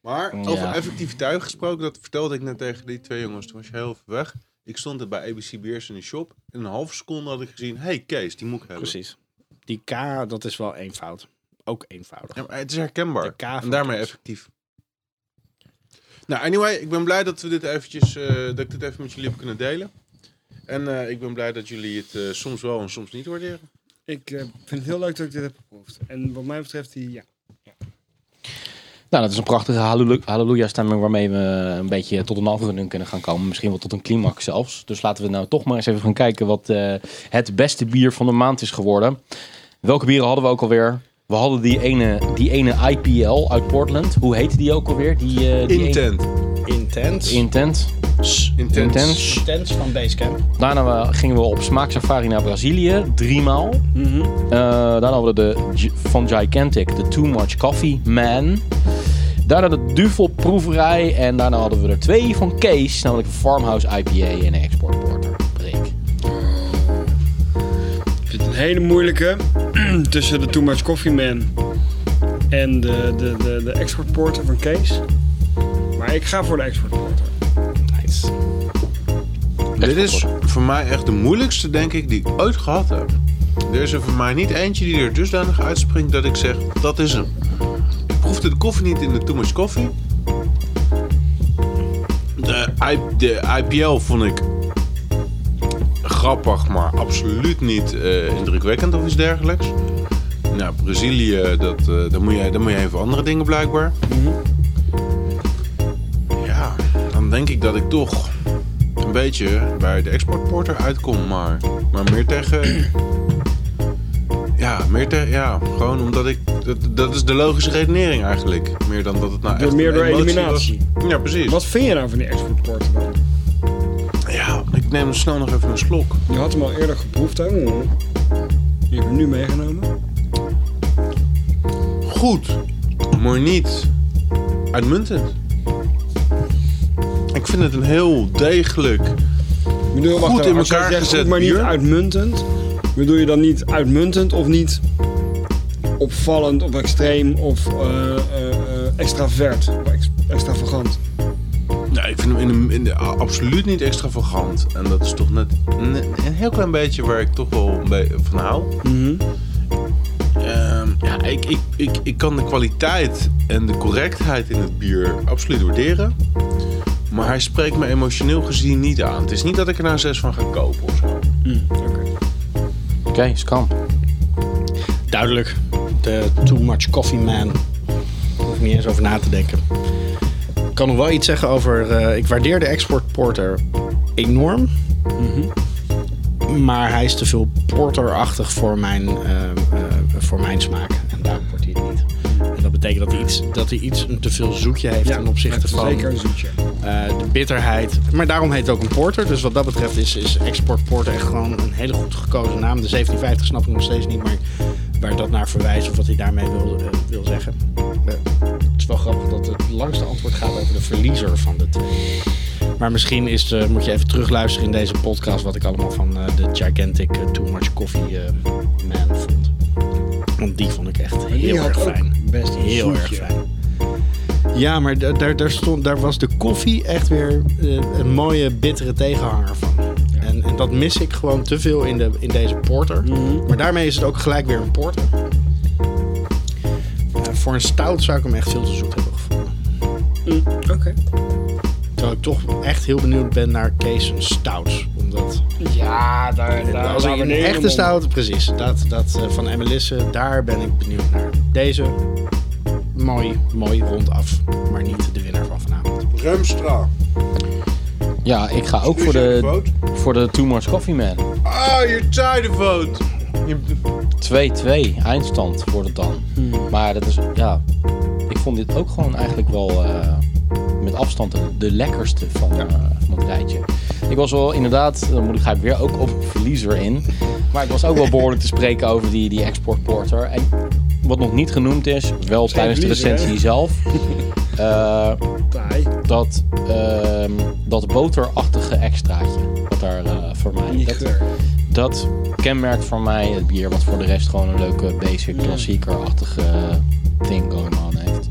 Maar
Ja.
over effectiviteit gesproken, dat vertelde ik net tegen die twee jongens. Toen was je heel even weg. Ik stond er bij ABC Beers in de shop. In een halve seconde had ik gezien, hey Kees, die moet ik hebben.
Precies. Die K, dat is wel één fout. Ook eenvoudig.
Ja, maar het is herkenbaar.
De K van
en daarmee
Kees.
effectief. Nou, anyway, ik ben blij dat, we dit eventjes, eh, dat ik dit even met jullie heb kunnen delen. En eh, ik ben blij dat jullie het eh, soms wel en soms niet waarderen.
Ik eh, vind het heel leuk dat ik dit heb geproefd. En wat mij betreft, die, ja.
Nou, dat is een prachtige halleluja- halleluja-stemming waarmee we een beetje tot een afronding kunnen gaan komen. Misschien wel tot een climax zelfs. Dus laten we nou toch maar eens even gaan kijken wat eh, het beste bier van de maand is geworden. Welke bieren hadden we ook alweer? We hadden die ene, die ene IPL uit Portland. Hoe heette die ook alweer? Die, eh, die ene-
Intent.
Intens.
Intent.
Intent.
Intens.
Intens van Basecamp.
Daarna eh, gingen we op smaak-safari naar Brazilië, driemaal. Eh, daarna hadden we de G- van Gigantic, de Too Much Coffee Man. Daarna de Duvelproeverij en daarna hadden we er twee van Kees, namelijk een Farmhouse IPA en een Export Porter. Prik.
Ik vind het een hele moeilijke tussen de Too Much Coffee Man en de, de, de, de exportporter van Kees. Maar ik ga voor de exportporter.
Nice.
Dit is voor mij echt de moeilijkste, denk ik, die ik ooit gehad heb. Er is er voor mij niet eentje die er dusdanig uitspringt dat ik zeg, dat is hem. Ik proefde de koffie niet in de Too Much Coffee. De, I- de IPL vond ik grappig, maar absoluut niet eh, indrukwekkend of iets dergelijks. Nou, Brazilië, dat, eh, daar, moet je, daar moet je even andere dingen blijkbaar. Ja, dan denk ik dat ik toch een beetje bij de exportporter uitkom, maar, maar meer tegen. Ja, meer tegen. Ja, gewoon omdat ik. Dat, dat is de logische redenering eigenlijk. Meer dan dat het nou
Door-
echt.
meer
een
door
emotie
eliminatie.
was. Ja, precies.
Wat vind je nou van die exportporter dan?
Ja, ik neem er snel nog even een slok.
Je had hem al eerder geproefd, hè? Je hebt hem nu meegenomen.
Goed, maar niet uitmuntend. Ik vind het een heel degelijk.
Ik bedoel,
Goed
even,
in
als jij
elkaar
zegt goed,
gezet
maar niet
bier.
uitmuntend. Bedoel je dan niet uitmuntend of niet opvallend of extreem of eh, eh, eh, extravert? Of ex- extravagant?
Nou, ik vind hem in de, in de- a- absoluut niet extravagant. En dat is toch net een, een heel klein beetje waar ik toch wel een be- van hou. Ehm, ja, ik, ik, ik, ik kan de kwaliteit en de correctheid in het bier absoluut waarderen. Maar hij spreekt me emotioneel gezien niet aan. Het is niet dat ik er nou zes van ga kopen of zo.
Oké, Skamp.
Duidelijk. De Too Much Coffee Man. Hoef niet eens over na te denken. Ik kan nog wel iets zeggen over. eh, ik waardeer de export porter enorm. Maar hij is te veel porterachtig voor mijn, eh, eh, voor mijn smaak. En daarom wordt hij het niet. En dat betekent dat hij iets, dat hij iets een te veel zoetje heeft ten opzichte van
Zeker een zoetje.
eh, de bitterheid. Maar daarom heet het ook een porter. Dus wat dat betreft is, is export porter echt gewoon een hele goed gekozen naam. De 1750 snap ik nog steeds niet, maar waar dat naar verwijst of wat hij daarmee wil, eh, wil zeggen. Eh, het is wel grappig dat het langste antwoord gaat over de verliezer van de twee. Maar misschien is, eh, moet je even terugluisteren in deze podcast wat ik allemaal van eh, de Gigantic eh, Too Much Coffee eh, Man vond. Want die vond ik echt
die
heel
had
erg
ook
fijn.
best een
heel erg
zoetje.
fijn. Ja, maar da- daar, daar, stond, daar was de koffie echt weer eh, een mooie bittere tegenhanger van. En, en dat mis ik gewoon te veel in, de, in deze porter. Maar daarmee is het ook gelijk weer een porter. Eh, voor een stout zou ik hem echt veel te zoet hebben gevonden.
Oké.
Terwijl ik toch echt heel benieuwd ben naar Kees' stouts. Omdat
Ja, daar, daar
als ik
daar
een
beneden
echte
om.
stout, precies. Dat, dat eh, van Emelisse, daar ben ik benieuwd naar. Deze, mooi, mooi rondaf. Maar niet de winnaar van vanavond.
Remstra.
Ja, ik ga ook voor de, voor de Too Much Coffee Man.
Ah, you're tired of vote. Je-
2-2, eindstand wordt het dan.
Hmm.
Maar dat is, ja, ik vond dit ook gewoon eigenlijk wel eh, met afstand de, de lekkerste van, eh, van het rijtje. Ik was wel inderdaad, dan moet ik, ga ik weer ook op verliezer in. Maar ik was ook wel behoorlijk te spreken over die, die exportporter. En wat nog niet genoemd is, wel tijdens de
verliezer,
recensie zelf. eh,
Taai.
dat, ehm, dat boterachtige extraatje. Wat daar eh, voor mij.
Die
Dat,
geur.
dat kenmerkt voor mij het bier, wat voor de rest gewoon een leuke, basic, klassieker-achtige eh, thing going on heeft.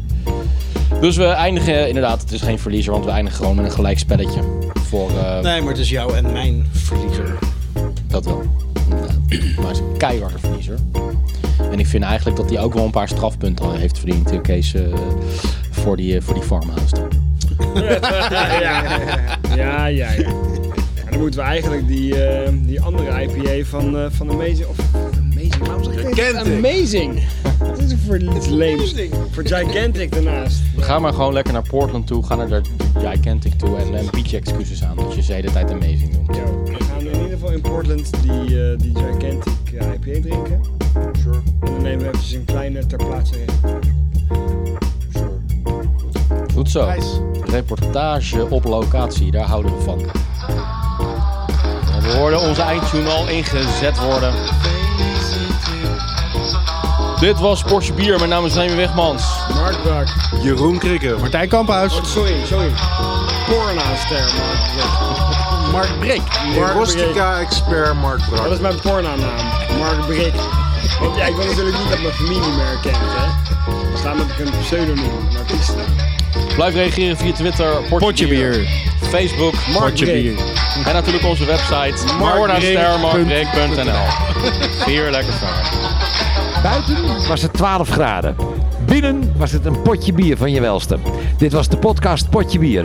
Dus we eindigen, inderdaad, het is geen verliezer, want we eindigen gewoon met een gelijk spelletje. Voor eh,
Nee, maar het is jou en mijn verliezer.
dat wel. Inderdaad. Maar het is een keiharde verliezer. En ik vind eigenlijk dat hij ook wel een paar strafpunten al heeft verdiend, eh, Kees, eh, voor, die, eh, voor die farmhouse.
ja, ja, ja. ja, ja, ja. Maar dan moeten we eigenlijk die, eh, die andere IPA van, eh, van Amazing... Of Amazing, waarom zeg ik dit? Amazing! Dat is voor iets leems. Voor Gigantic daarnaast.
Ga maar gewoon lekker naar Portland toe. Ga naar de Gigantic toe. En, en bied je excuses aan dat je ze de hele tijd amazing noemt.
Ja, we gaan in ieder geval in Portland die, eh, die Gigantic eh, IPA drinken.
Sure,
En dan nemen we eventjes een kleine ter plaatse reportage op.
sure.
Goed zo. Reportage op locatie. Daar houden we van. En we hoorden onze eindtune al ingezet worden. Dit was Porsche Bier. Mijn naam is Remy Wegmans.
Mark Brak.
Jeroen Krikke.
Martijn Kamphuis.
Oh, sorry, sorry. Porna-ster, Mark Brak.
Mark Brink.
Mark Brak.
Rostica-expert Mark Brak.
Dat is mijn porna-naam. Mark Brik. Want ja, ik wil natuurlijk niet dat mijn familie me herkent, hè. Dan staan met een pseudoniem, een artiestnaam.
Blijf reageren via Twitter. Portje, Bier. Facebook.
Potje
Bier.
Bier.
En natuurlijk onze website. Marwardastermarkbreek.nl Bier lekker verder.
Buiten was het 12 graden. Binnen was het een potje bier van je welste. Dit was de podcast Potje Bier.